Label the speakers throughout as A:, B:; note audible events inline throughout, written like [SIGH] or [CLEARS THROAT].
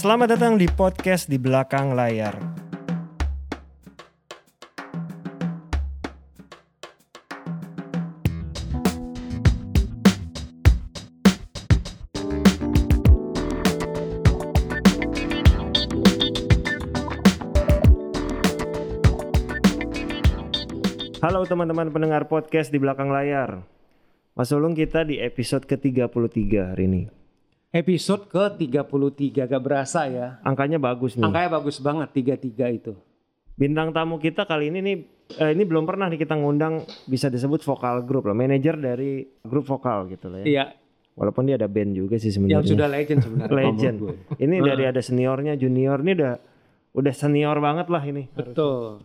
A: Selamat datang di podcast di belakang layar. Halo teman-teman pendengar podcast di belakang layar. Mas Ulung kita di episode ke-33 hari ini.
B: Episode ke-33 gak berasa ya.
A: Angkanya bagus nih.
B: Angkanya bagus banget 33 itu.
A: Bintang tamu kita kali ini nih eh, ini belum pernah nih kita ngundang bisa disebut vokal grup lah, manajer dari grup vokal gitu lah ya.
B: Iya,
A: Walaupun dia ada band juga sih sebenarnya.
B: yang sudah legend sebenarnya.
A: legend.
B: menurut gue. Nah.
A: Ini dari ada seniornya, junior ini udah udah senior banget lah ini.
B: Betul.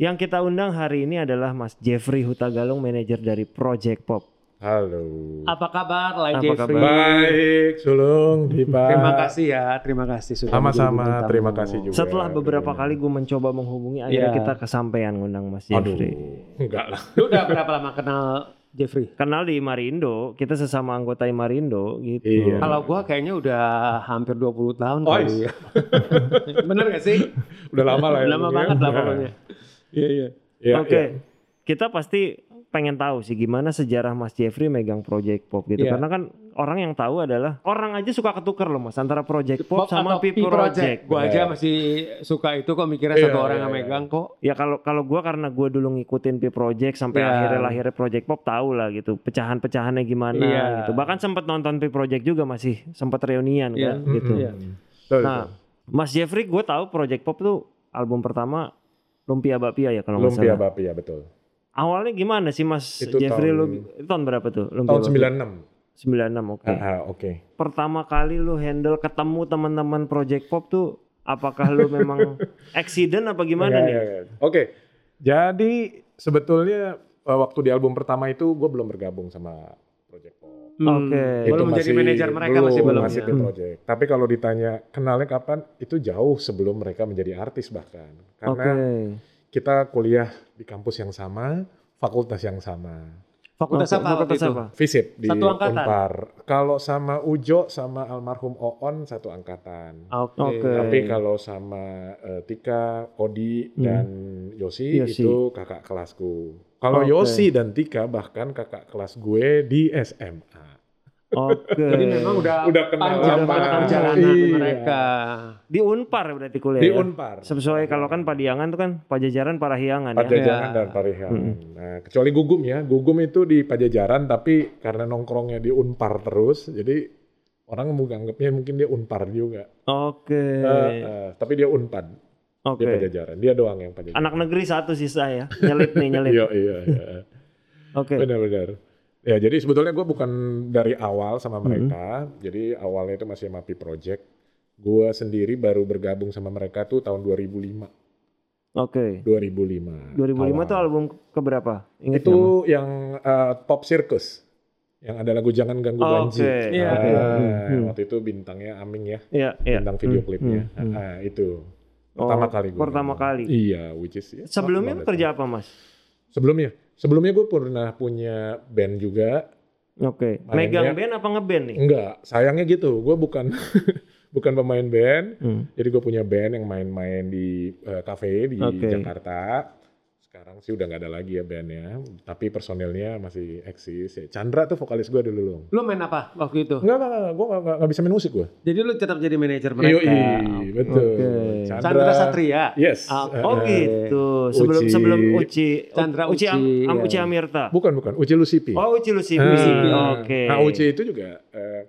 A: Yang kita undang hari ini adalah Mas Jeffrey Hutagalung, manajer dari Project Pop.
C: Halo.
B: Apa kabar lah
A: Apa
B: Jeffrey?
C: Baik, Sulung, Dipa.
B: Terima kasih ya, terima kasih sudah menjadi
C: Sama-sama,
B: bintang
C: terima
B: tamu.
C: kasih juga.
A: Setelah beberapa kali gue mencoba menghubungi, akhirnya
B: Iya.
A: kita kesampaian ngundang Mas
C: Aduh,
A: Jeffrey.
C: enggak lah. [LAUGHS]
B: Lu udah berapa lama kenal Jeffrey?
A: Kenal di Marindo, kita sesama anggota Marindo gitu.
C: Iya.
B: Kalau gua kayaknya udah hampir 20 tahun
C: Oh,
B: kali
C: iya.
B: ya. [LAUGHS] Bener gak sih?
C: Udah lama lah ya.
B: Lama
C: Lung, ya.
B: banget lah pokoknya. Iya, iya.
C: Iya,
A: Oke,
C: iya.
A: kita pasti pengen tahu sih gimana sejarah Mas Jeffrey megang Project Pop gitu.
B: Iya.
A: Karena kan orang yang tahu adalah orang aja suka ketuker loh Mas antara Project Pop, sama
B: atau
A: P Project.
B: Gua aja masih suka itu kok mikirnya
C: Iya,
B: satu orang
C: iya,
B: yang
C: iya.
B: megang kok.
A: Ya kalau kalau gua karena gua dulu ngikutin P Project sampai
B: Iya.
A: akhirnya lahirnya Project Pop tahu lah gitu pecahan-pecahannya gimana
B: Iya.
A: gitu. Bahkan sempat nonton P Project juga masih sempat reunian kan
B: Iya.
A: gitu.
B: Iya.
C: Hmm. Betul,
A: Nah, Mas Jeffrey gue tahu Project Pop tuh album pertama Lumpia Bapia ya
C: betul.
A: kalau nggak
C: Lumpia
A: salah.
C: Bapia, betul.
A: Awalnya gimana sih Mas
C: Itu
A: Jeffrey
C: tahun-
A: lu itu tahun berapa tuh?
C: Tahun
A: Bapia?
C: 96.
A: 96 oke.
C: Ah, ah, oke.
A: Pertama kali lu handle ketemu teman-teman Project Pop tuh apakah lu
C: [LAUGHS]
A: memang accident apa gimana
C: Iya,
A: nih?
C: iya, iya. Oke. Jadi sebetulnya eh, waktu di album pertama itu gue belum bergabung sama Project Pop.
B: Hmm.
A: Oke.
B: Belum menjadi manajer mereka masih belum.
C: masih
B: ya.
C: di project. Tapi kalau ditanya kenalnya kapan, itu jauh sebelum mereka menjadi artis bahkan.
A: Oke.
C: Karena kita kuliah di kampus yang sama, fakultas yang sama.
B: Fakultas
A: Oke,
B: apa waktu
A: fakultas
B: itu?
A: apa?
C: Visip di
B: Satu angkatan?
C: Unpar. Kalau sama Ujo sama almarhum Oon satu angkatan.
B: Oke.
A: Oke.
C: Tapi kalau sama eh, Tika, Odi
A: Hmm.
C: dan Yosi,
A: Yosi.
C: itu kakak kelasku. Kalau
A: Oke.
C: Yosi dan Tika bahkan kakak kelas gue di SMA.
A: Oke.
B: Jadi memang udah
C: Iya. Udah kenal
B: panjang
A: lama.
B: banget perjalanan
C: Iya.
B: mereka.
A: di Unpar berarti kuliah.
C: Di
A: ya?
C: Unpar.
A: Sesuai kalau kan Padiangan tuh kan Pajajaran Parahiangan ya.
C: Pajajaran
B: Ya.
C: dan Parihan.
A: Mm-mm.
C: Nah, kecuali Gugum ya. Gugum itu di Pajajaran tapi karena nongkrongnya di Unpar terus, jadi orang mau nganggapnya mungkin dia Unpar juga.
A: Oke.
C: Eh, eh, tapi dia Unpad
A: Iya, Oke.
C: di Pajajaran. Dia doang yang Pajajaran.
A: Anak negeri satu sisa
C: [LAUGHS]
A: ya. Nyelip nih, nyelip.
C: Iya, iya, iya.
A: [LAUGHS] Oke.
C: Benar-benar. Ya, jadi sebetulnya gue bukan dari awal sama mereka. Jadi awalnya itu masih Mapi Project. Gue sendiri baru bergabung sama mereka tuh tahun 2005.
A: Oke.
C: 2005.
A: 2005
C: awal.
A: tuh album ke berapa? Ingat
C: itu yang eh, pop circus yang ada lagu jangan ganggu
A: Oke.
C: Banji.
A: Iya.
C: Ah,
A: Oke. Hmm.
C: Waktu itu bintangnya Aming ya,
A: Iya, iya.
C: bintang video
A: Hmm,
C: klipnya.
A: hmm, hmm.
C: Ah, itu
A: Oh,
C: pertama kali gue.
A: pertama kali.
C: Iya, which is. ya,
A: Sebelumnya lu
C: banget.
A: kerja apa, Mas?
C: Sebelumnya, sebelumnya gue pernah punya band juga.
A: Oke.
C: Mainnya-
A: Megang band apa ngeband nih?
C: Enggak, sayangnya gitu. Gue bukan [LAUGHS] bukan pemain band.
A: Hmm.
C: Jadi gue punya band yang main-main di eh, cafe di
A: Oke.
C: Jakarta. Sekarang sih udah nggak ada lagi ya bandnya, tapi personilnya masih eksis. Ya, Chandra tuh vokalis gue dulu loh.
B: Lu main apa waktu itu?
C: Enggak, enggak, enggak. Gue nggak nggak bisa main musik gue.
B: Jadi lu tetap jadi manajer mereka.
C: Yoi, betul.
A: Oke.
B: Chandra Satria.
C: Yes.
B: Ah,
C: Eh,
A: Oh
C: eh,
A: gitu. Sebelum
C: Uci-
A: sebelum Uci
B: Chandra
A: Uci, Am-
B: Uci,
A: Am-
B: iya.
A: Uci Amirta.
C: Bukan, bukan. Uci Lusipi.
A: Oh, Uci Lucy.
C: Ah.
A: Oke.
C: Nah, Uci itu juga eh,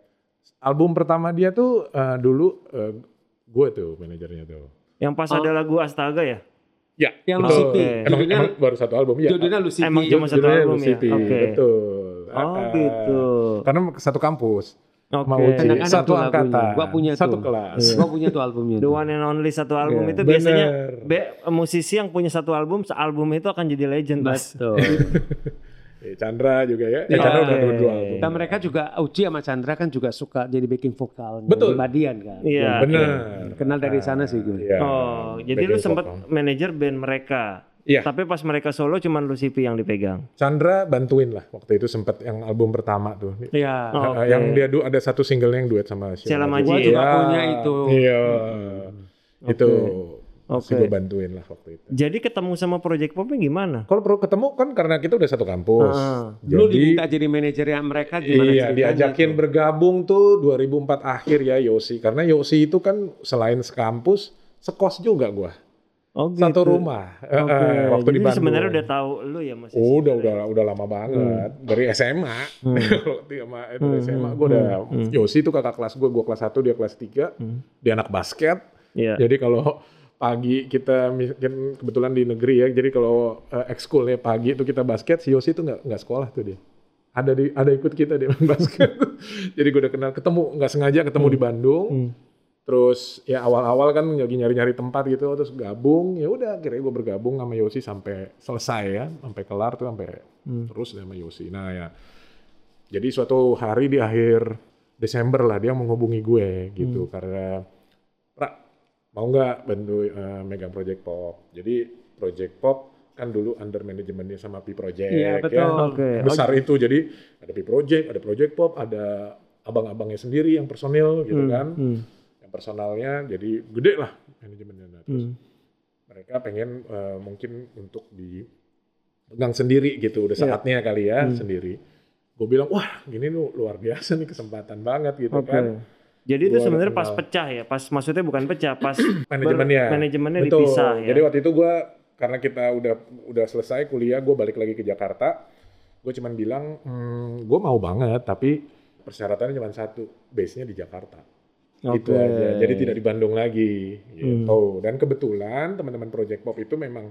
C: album pertama dia tuh eh, dulu eh, gue tuh manajernya tuh.
A: Yang pas
B: Oh.
A: ada lagu Astaga ya?
C: Ya,
B: Yang
C: betul.
B: Lusipi.
C: Emang,
B: Judulnya-
C: emang baru satu album ya.
B: Judulnya Lucy.
A: Emang
B: P.
A: cuma satu
C: Judulnya
A: album ya?
C: Lusipi,
A: Oke.
C: Betul.
A: Oh
C: Ah,
A: gitu.
C: Karena satu kampus
A: Oke.
C: sama Uci.
B: Enak-enak
C: Satu
B: tuh lagunya.
C: angkatan.
B: Gua punya
C: satu
B: tuh.
C: kelas.
B: Gua punya tuh albumnya.
A: The one and only satu album
C: Iya,
A: itu biasanya
C: bener.
A: be- musisi yang punya satu album, album itu akan jadi legend, Mas.
B: Betul.
C: Eh, Chandra juga ya. Eh,
B: Iya.
C: Chandra udah dua, dua album.
B: Dan mereka juga Uci sama Chandra kan juga suka jadi backing vokal di
C: Betul.
B: Badian kan.
A: Iya.
C: Bener.
B: Kenal dari sana sih gue.
C: Iya.
A: Oh, jadi lu
C: Backing
A: sempat
C: vokal.
A: manajer band mereka.
C: Iya.
A: Tapi pas mereka solo cuman Lucipi yang dipegang.
C: Chandra bantuin lah waktu itu sempet yang album pertama tuh.
B: Iya.
A: Oh,
C: Eh,
A: oke.
C: Yang dia du- ada satu single yang duet sama
A: Sheila Majid.
B: Gua
A: Iya.
B: juga punya itu. Hmm.
C: Iya. Itu
A: Oke.
C: masih gue bantuin lah waktu itu.
A: Jadi ketemu sama Project Popnya gimana?
C: Kalau perlu ketemu kan karena kita udah satu kampus.
A: Ah.
B: Lu
C: Jadi
B: diminta jadi manajernya mereka gimana
C: iya
B: ceritanya
C: diajakin
B: tuh?
C: bergabung tuh 2004 akhir ya Yosi karena Yosi itu kan selain sekampus sekos juga gua.
A: Oh gitu.
C: Satu rumah. Eh,
A: Oke.
C: eh, waktu
A: Jadi
C: di Bandung. Oh,
A: sebenarnya udah tahu lu ya masih.
C: Udah, udah, udah lama banget. Dari SMA.
A: Hmm.
C: [LAUGHS] Waktu sama eh, itu
A: Hmm,
C: SMA
A: hmm,
C: gue udah,
A: hmm.
C: Yosi itu kakak kelas gue, gue kelas 1, dia kelas 3.
A: Hmm.
C: Dia anak basket.
A: Iya.
C: Jadi kalau pagi kita mungkin kebetulan di negeri ya, jadi kalau eh, ekskulnya pagi itu kita basket, si Yosi itu nggak nggak sekolah tuh dia. Ada di ada ikut kita dia main [LAUGHS] basket. jadi gue udah kenal, ketemu nggak sengaja ketemu di Bandung.
A: Hmm.
C: Terus ya awal-awal kan lagi nyari-nyari tempat gitu, terus gabung. Ya udah, akhirnya gue bergabung sama Yosi sampai selesai ya, sampai kelar tuh sampai terus sama Yosi. Nah ya, jadi suatu hari di akhir Desember lah dia menghubungi gue gitu karena Ra, mau nggak bantu eh, megang Project Pop. Jadi Project Pop kan dulu under manajemennya sama P Project
B: Iya, betul.
C: ya.
A: Oke.
C: Besar itu jadi ada P Project, ada Project Pop, ada abang-abangnya sendiri yang personil gitu
A: Hmm,
C: kan.
A: hmm,
C: Yang personalnya jadi gede lah manajemennya. Nah, terus
A: hmm.
C: mereka pengen eh, mungkin untuk di pegang sendiri gitu udah
A: Iya.
C: saatnya kali ya
A: Hmm.
C: sendiri gue bilang wah gini lu luar biasa nih kesempatan banget gitu
A: Oke.
C: kan
A: Jadi itu
C: Gua
A: sebenarnya
C: kenal.
A: pas pecah ya, pas maksudnya bukan pecah, pas
C: manajemennya
A: ber- manajemennya
C: betul
A: dipisah ya.
C: jadi waktu itu gue karena kita udah udah selesai kuliah gue balik lagi ke Jakarta gue cuman bilang hmm, gue mau banget tapi persyaratannya cuma satu base nya di Jakarta [CLEARS THROAT] itu
A: Oke.
C: Gitu
A: Hmm.
C: aja. Jadi tidak di Bandung lagi gitu. Dan kebetulan teman-teman Project Pop itu memang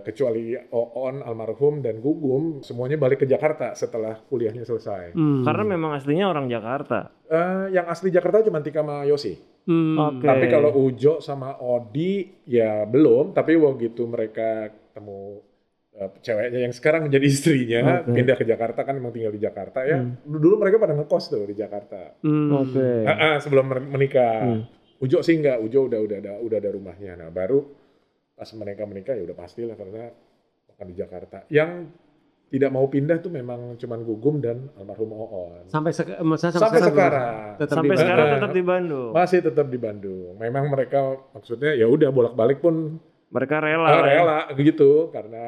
C: kecuali Oon, almarhum dan Gugum semuanya balik ke Jakarta setelah kuliahnya selesai.
B: Hmm.
A: Karena memang aslinya orang Jakarta.
C: Eh, yang asli Jakarta cuma Tika sama Yosi.
B: Hmm.
A: Oke.
C: Tapi kalau Ujo sama Odi ya belum, tapi begitu mereka ketemu eh, ceweknya yang sekarang menjadi istrinya
A: Oke.
C: pindah ke Jakarta kan memang tinggal di Jakarta ya.
A: Hmm.
C: Dulu mereka pada ngekos tuh di Jakarta.
B: Hmm.
A: Oke.
C: Ah, ah, sebelum mer- menikah.
A: Iya. Hmm.
C: Ujo sih enggak, Ujo udah udah ada udah ada rumahnya. Nah, baru pas mereka menikah ya udah pastilah karena akan di Jakarta. Yang tidak mau pindah tuh memang cuman Gugum dan almarhum Oon.
B: Sampai, sek- eh, maksudnya sampai,
C: Sampai
B: sekarang.
C: sekarang
B: tetap
A: Sampai
B: di Bandung.
A: sekarang
C: Eh,
A: tetap di Bandung.
C: masih tetap di Bandung. Memang mereka maksudnya ya udah bolak-balik pun
A: Mereka rela.
C: ah,
A: lah ya.
C: rela gitu karena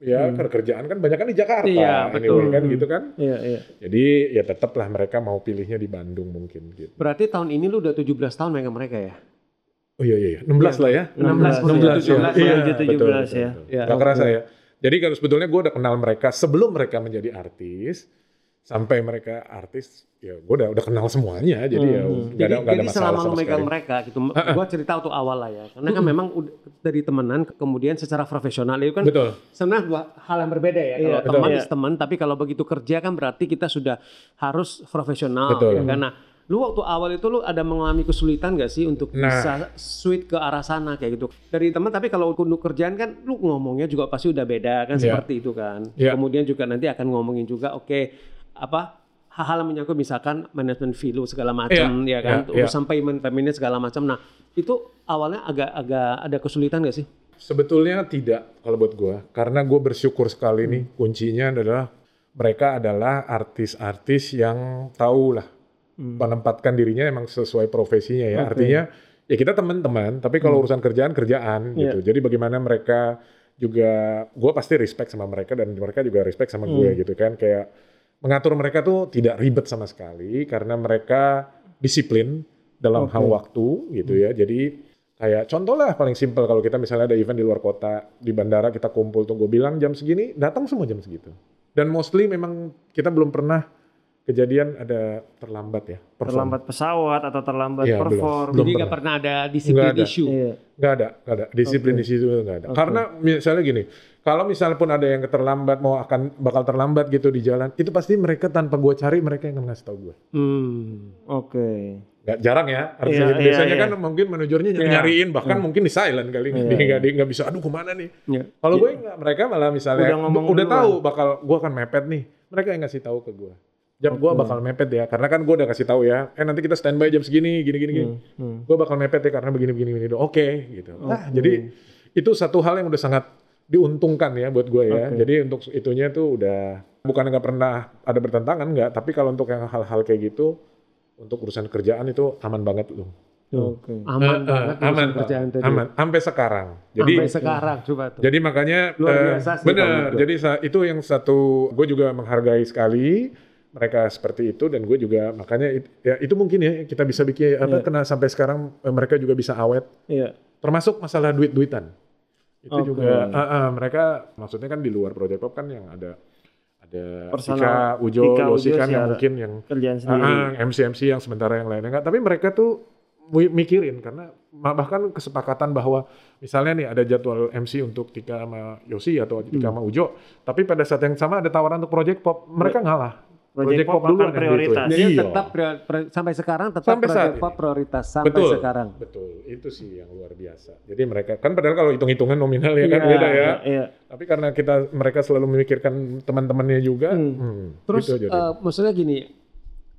C: ya
A: Hmm.
C: kerjaan kan banyak kan di Jakarta.
B: Iya, betul.
C: kan
A: Hmm.
C: gitu kan.
A: Iya, iya.
C: Jadi ya tetaplah mereka mau pilihnya di Bandung mungkin gitu.
B: Berarti tahun ini lu udah 17 tahun megang mereka ya?
C: Oh iya iya, iya. 16 lah ya.
A: 16,
C: 16 ya.
B: 17,
C: Iya,
A: 17,
C: betul,
A: 17
C: betul,
A: ya.
C: betul.
B: Ya,
C: Nggak
B: oke.
C: kerasa ya. Jadi kalau sebetulnya gue udah kenal mereka sebelum mereka menjadi artis, sampai mereka artis, ya gue udah udah kenal semuanya. Jadi ya
A: Hmm.
C: nggak ada
B: jadi
C: nggak ada
B: jadi
C: masalah
B: selama lu
C: sama
B: megang
C: sekali.
B: mereka gitu, gua cerita untuk awal lah ya. Karena kan memang udah- dari temenan ke- kemudian secara profesional itu kan
C: Betul.
B: sebenarnya dua hal yang berbeda ya.
A: Iya,
B: Kalau
A: betul.
B: teman
A: Iya.
B: is teman, tapi kalau begitu kerja kan berarti kita sudah harus profesional. ya
C: Betul.
B: kan? Nah, lu waktu awal itu lu ada mengalami kesulitan gak sih untuk
C: Nah.
B: bisa switch ke arah sana kayak gitu. Dari teman tapi kalau untuk kerjaan kan lu ngomongnya juga pasti udah beda kan
C: Iya.
B: seperti itu kan.
C: Iya.
B: Kemudian juga nanti akan ngomongin juga oke apa hal-hal yang menyangkut misalkan manajemen fee lu segala macam ya
C: Iya.
B: kan
C: Iya, iya.
B: urusan payment paymentnya segala macam. Nah, itu awalnya agak-agak ada kesulitan gak sih?
C: Sebetulnya tidak kalau buat gue, karena gue bersyukur sekali nih kuncinya adalah mereka adalah artis-artis yang tahu lah menempatkan dirinya emang sesuai profesinya ya. Artinya ya kita teman-teman, tapi kalau urusan kerjaan kerjaan gitu. Jadi bagaimana mereka juga, gue pasti respect sama mereka dan mereka juga respect sama gue gitu kan. Kayak mengatur mereka tuh tidak ribet sama sekali karena mereka disiplin dalam hal waktu gitu ya. Jadi kayak contoh lah paling simpel kalau kita misalnya ada event di luar kota di bandara kita kumpul tuh gue bilang jam segini datang semua jam segitu dan mostly memang kita belum pernah kejadian ada terlambat ya perform.
A: Terlambat pesawat atau terlambat
C: Iya, belum.
A: perform.
C: Belum
B: Jadi
C: pernah.
B: nggak pernah ada disiplin
C: Nggak ada.
B: issue.
A: Iya.
C: Nggak ada, nggak ada. Disiplin di situ nggak ada. Karena misalnya gini, kalau misalnya pun ada yang terlambat mau akan bakal terlambat gitu di jalan, itu pasti mereka tanpa gue cari mereka yang ngasih tau gue.
B: Hmm.
A: Oke.
C: Nggak jarang ya. Artinya
A: Iya,
C: gitu.
A: iya,
C: Biasanya
A: iya. Hmm.
C: kan mungkin manajernya nyari-
B: Iya.
C: nyariin, bahkan mungkin di silent kali. Dia nggak dia nggak bisa. Aduh kemana nih?
B: Ya.
C: Kalau gue nggak, mereka malah misalnya
A: Udah ngomong
C: udah
A: duluan.
C: tahu bakal gue akan mepet nih. Mereka yang ngasih tahu ke gue.
B: Oh,
C: Jam
B: iya.
C: gue bakal mepet ya, karena kan gue udah kasih tahu ya. Eh nanti kita standby jam segini, gini gini gini.
A: Hmm.
B: Oh, iya.
C: gue bakal mepet ya karena begini begini begini doang. oke gitu Nah, jadi itu satu hal yang udah sangat diuntungkan ya buat gue ya.
A: Oke.
C: Jadi untuk itunya tuh udah bukan nggak pernah ada bertentangan nggak, tapi kalau untuk yang hal-hal kayak gitu untuk urusan kerjaan itu aman banget loh.
A: Oke.
B: Aman
C: Eh, eh,
B: banget urusan
C: aman, Pak.
B: kerjaan tadi.
C: Aman, sampai sekarang. Jadi
B: Sampai sekarang coba tuh.
C: jadi makanya
B: Luar
C: eh,
B: biasa sih kalau
C: bener.
B: itu.
C: Jadi sa- itu yang satu gue juga menghargai sekali mereka seperti itu dan gue juga makanya it- ya itu mungkin ya kita bisa bikin apa
A: Iya.
C: kena sampai sekarang eh, mereka juga bisa awet
A: Iya.
C: termasuk masalah duit-duitan. Itu
A: Oke.
C: juga ah, ah, mereka maksudnya kan di luar project pop kan yang ada ada
A: Personal.
C: Ika Ujo,
A: Ika,
C: Losi
A: Ujo
C: kan
A: sih
C: yang
A: ada.
C: mungkin yang
A: Kerjaan sendiri.
C: Ah, ah, MC-MC yang sementara yang lainnya enggak. Tapi mereka tuh wi- mikirin karena ma- bahkan kesepakatan bahwa misalnya nih ada jadwal MC untuk Tika sama Yosi atau Tika sama Ujo, tapi pada saat yang sama ada tawaran untuk Project Pop, mereka ngalah.
A: Project Pop akan
C: duluan yang
A: prioritas.
C: gitu.
B: Jadi
C: Iya.
B: tetap prior- prior- sampai sekarang tetap
C: Sampai
B: prioritas,
C: saat ini.
B: prioritas sampai
C: Betul.
B: sekarang.
C: Betul, itu sih yang luar biasa. Jadi mereka kan padahal kalau hitung-hitungan nominal ya kan
B: Iya,
C: beda ya.
A: Iya, iya.
C: Tapi karena kita mereka selalu memikirkan teman-temannya juga,
A: Hmm.
C: hmm,
B: Terus
C: gitu jadi.
B: eh, maksudnya gini,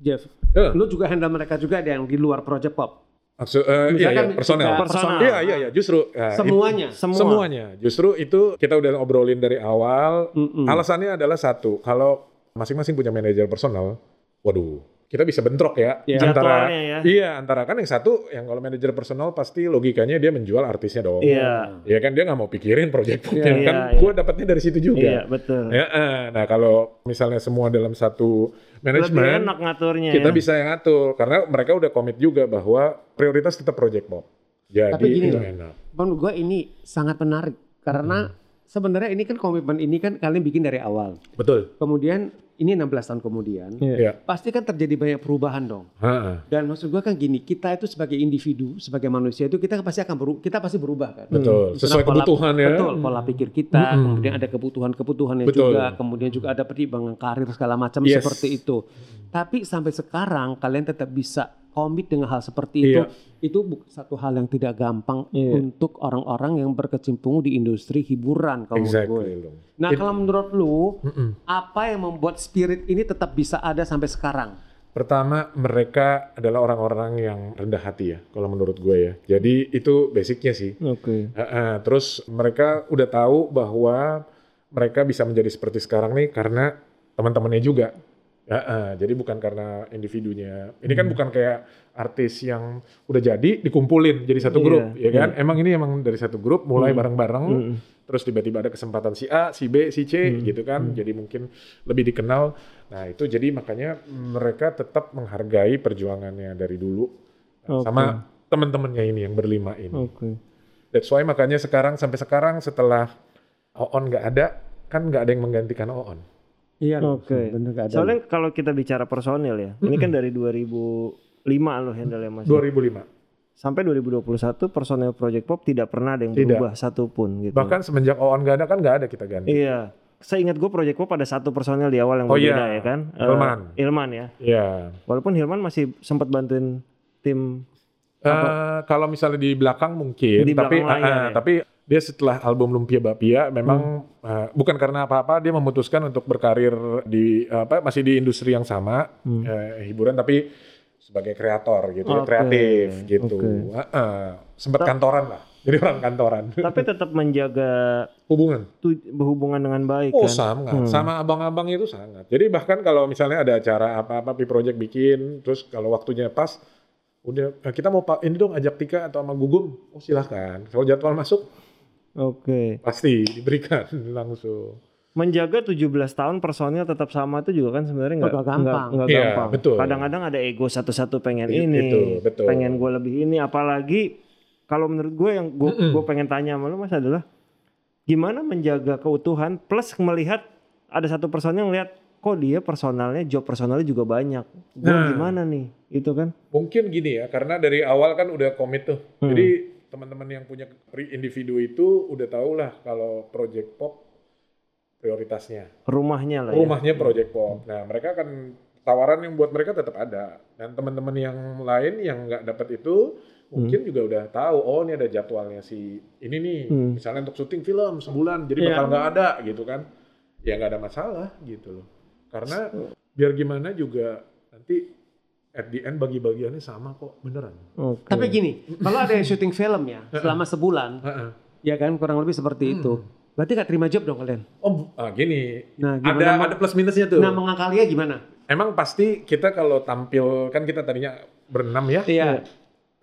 B: Jeff,
C: Eh.
B: lu juga handle mereka juga ada yang di luar project pop.
C: Maksud- eh, iya,
B: misalkan
C: iya, personal.
B: kita-
A: personal.
C: Iya, iya, iya, justru ya,
B: Semuanya.
A: Semua.
C: Semuanya. Justru itu kita udah obrolin dari awal.
B: Mm-mm.
C: Alasannya adalah satu, kalau masing-masing punya manajer personal, waduh, kita bisa bentrok ya
B: Iya.
C: antara
A: Jadwalnya ya.
C: iya antara kan yang satu yang kalau manajer personal pasti logikanya dia menjual artisnya dong.
A: Iya.
C: Iya kan dia nggak mau pikirin project
A: Iya,
C: kan
A: iya.
C: gue dapatnya dari situ juga.
A: Iya, betul.
C: Ya, eh, nah kalau misalnya semua dalam satu
A: Lebih
C: manajemen,
A: enak ngaturnya
C: kita
A: ya.
C: bisa yang ngatur karena mereka udah komit juga bahwa prioritas tetap project pop. Jadi
B: Tapi gini
C: itu
B: loh.
C: enak.
B: Menurut gua ini sangat menarik karena sebenarnya ini kan komitmen ini kan kalian bikin dari awal.
C: Betul.
B: Kemudian ini 16 tahun kemudian,
A: Iya.
C: Iya.
B: pasti kan terjadi banyak perubahan dong.
C: Heeh.
B: Dan maksud gua kan gini, kita itu sebagai individu, sebagai manusia itu kita pasti akan beru- kita pasti berubah kan.
C: Betul.
B: Misalnya
C: Sesuai
B: pola-
C: kebutuhan ya.
B: Betul, pola pikir kita,
C: Mm-mm.
B: kemudian ada kebutuhan-kebutuhannya
C: Betul.
B: juga, kemudian juga ada pertimbangan karir segala macam
C: Yes.
B: seperti itu. Tapi sampai sekarang kalian tetap bisa komit dengan hal seperti itu.
C: Iya.
B: Itu bu- satu hal yang tidak gampang
A: Iya.
B: untuk orang-orang yang berkecimpung di industri hiburan kalau menurut gue.
C: Exactly. Lung.
B: Nah,
C: It-
B: kalau menurut lu,
C: Mm-mm.
B: apa yang membuat spirit ini tetap bisa ada sampai sekarang?
C: Pertama, mereka adalah orang-orang yang rendah hati ya, kalau menurut gue ya. Jadi itu basicnya sih.
A: Oke.
C: Heeh, terus mereka udah tahu bahwa mereka bisa menjadi seperti sekarang nih karena teman-temannya juga. Heeh, jadi bukan karena individunya. Ini kan bukan kayak artis yang udah jadi dikumpulin jadi satu
A: Iya,
C: grup, ya kan? Emang ini emang dari satu grup mulai
B: Hmm.
C: bareng-bareng,
A: Mm.
C: terus tiba-tiba ada kesempatan si A, si B, si
A: Hmm.
C: C gitu kan. Jadi mungkin lebih dikenal. Nah, itu jadi makanya mereka tetap menghargai perjuangannya dari dulu
A: Oke.
C: Nah,
A: Oh.
C: sama teman-temannya ini yang berlima ini.
A: Oke.
C: That's why makanya sekarang sampai sekarang setelah Oon nggak ada, kan nggak ada yang menggantikan Oon.
B: Iya,
A: Oke. Soalnya kalau kita bicara personil ya, ini kan dari 2005 lo handle Mas.
C: 2005.
A: Sampai 2021 personil Project Pop tidak pernah ada yang
C: Tidak.
A: berubah satupun gitu.
C: Bahkan semenjak Oon nggak ada kan nggak ada kita ganti.
A: Iya. Seingat gue Project Pop ada satu personil di awal yang
C: Oh
A: berbeda
C: iya.
A: ya kan? Eh,
C: Hilman.
A: Hilman ya.
C: Iya.
A: Walaupun Hilman masih sempat bantuin tim
C: Eh, kalau misalnya di belakang mungkin,
A: Di
C: tapi
A: belakang layar
C: ah, ah,
A: ya.
C: tapi dia setelah album Lumpia Bapia memang
A: Hmm.
C: eh, bukan karena apa-apa dia memutuskan untuk berkarir di apa masih di industri yang sama eh, hiburan tapi sebagai kreator gitu, ya,
A: Hmm. Oke.
C: kreatif gitu.
A: Oke.
C: Ah, ah, sempat kantoran lah. Jadi orang kantoran. [LAUGHS]
A: tapi tetap menjaga
C: Hubungan.
A: tu- berhubungan dengan baik
C: Oh
A: kan.
C: sangat, sama abang-abang itu sangat. Jadi bahkan kalau misalnya ada acara apa-apa, Pi Project bikin, terus kalau waktunya pas, udah "Eh, kita mau pak ini dong ajak Tika atau sama Gugum, oh silahkan. Kalau jadwal masuk
A: Oke.
C: pasti diberikan [LAUGHS] langsung.
A: Menjaga 17 tahun personil tetap sama itu juga kan sebenarnya nggak
B: Nggak gampang.
A: nggak- nggak
C: Iya,
A: gampang.
C: betul.
A: Kadang-kadang ada ego satu-satu pengen
C: I-
A: ini,
C: itu, betul.
A: pengen gue lebih ini. Apalagi kalau menurut gue yang gue gue pengen tanya sama lu mas adalah gimana menjaga keutuhan plus melihat ada satu personil yang lihat kok dia personalnya job personalnya juga banyak. Gue
C: Nah.
A: gimana nih itu kan?
C: Mungkin gini ya, karena dari awal kan udah komit tuh. Jadi teman-teman yang punya pri- individu itu udah tau lah kalau Project Pop prioritasnya.
A: Rumahnya lah. ya.
C: rumahnya Project Pop. Nah, mereka akan tawaran yang buat mereka tetap ada. Dan teman-teman yang lain yang nggak dapat itu mungkin juga udah tahu oh ini ada jadwalnya si ini nih
A: Hmm.
C: misalnya untuk syuting film sebulan jadi
B: Iya.
C: bakal nggak ada gitu kan ya nggak ada masalah gitu loh karena biar gimana juga nanti at the end bagi-bagiannya sama kok beneran
A: Oke.
B: Tapi gini, kalau ada yang syuting film ya selama sebulan,
C: Heeh.
B: ya kan kurang lebih seperti itu. Berarti nggak terima job dong kalian?
C: Oh, ah, gini.
B: Nah,
C: ada
B: gimana?
C: ada plus minusnya tuh.
B: Nah mengakalinya gimana?
C: Emang pasti kita kalau tampil kan kita tadinya berenam ya.
B: Iya,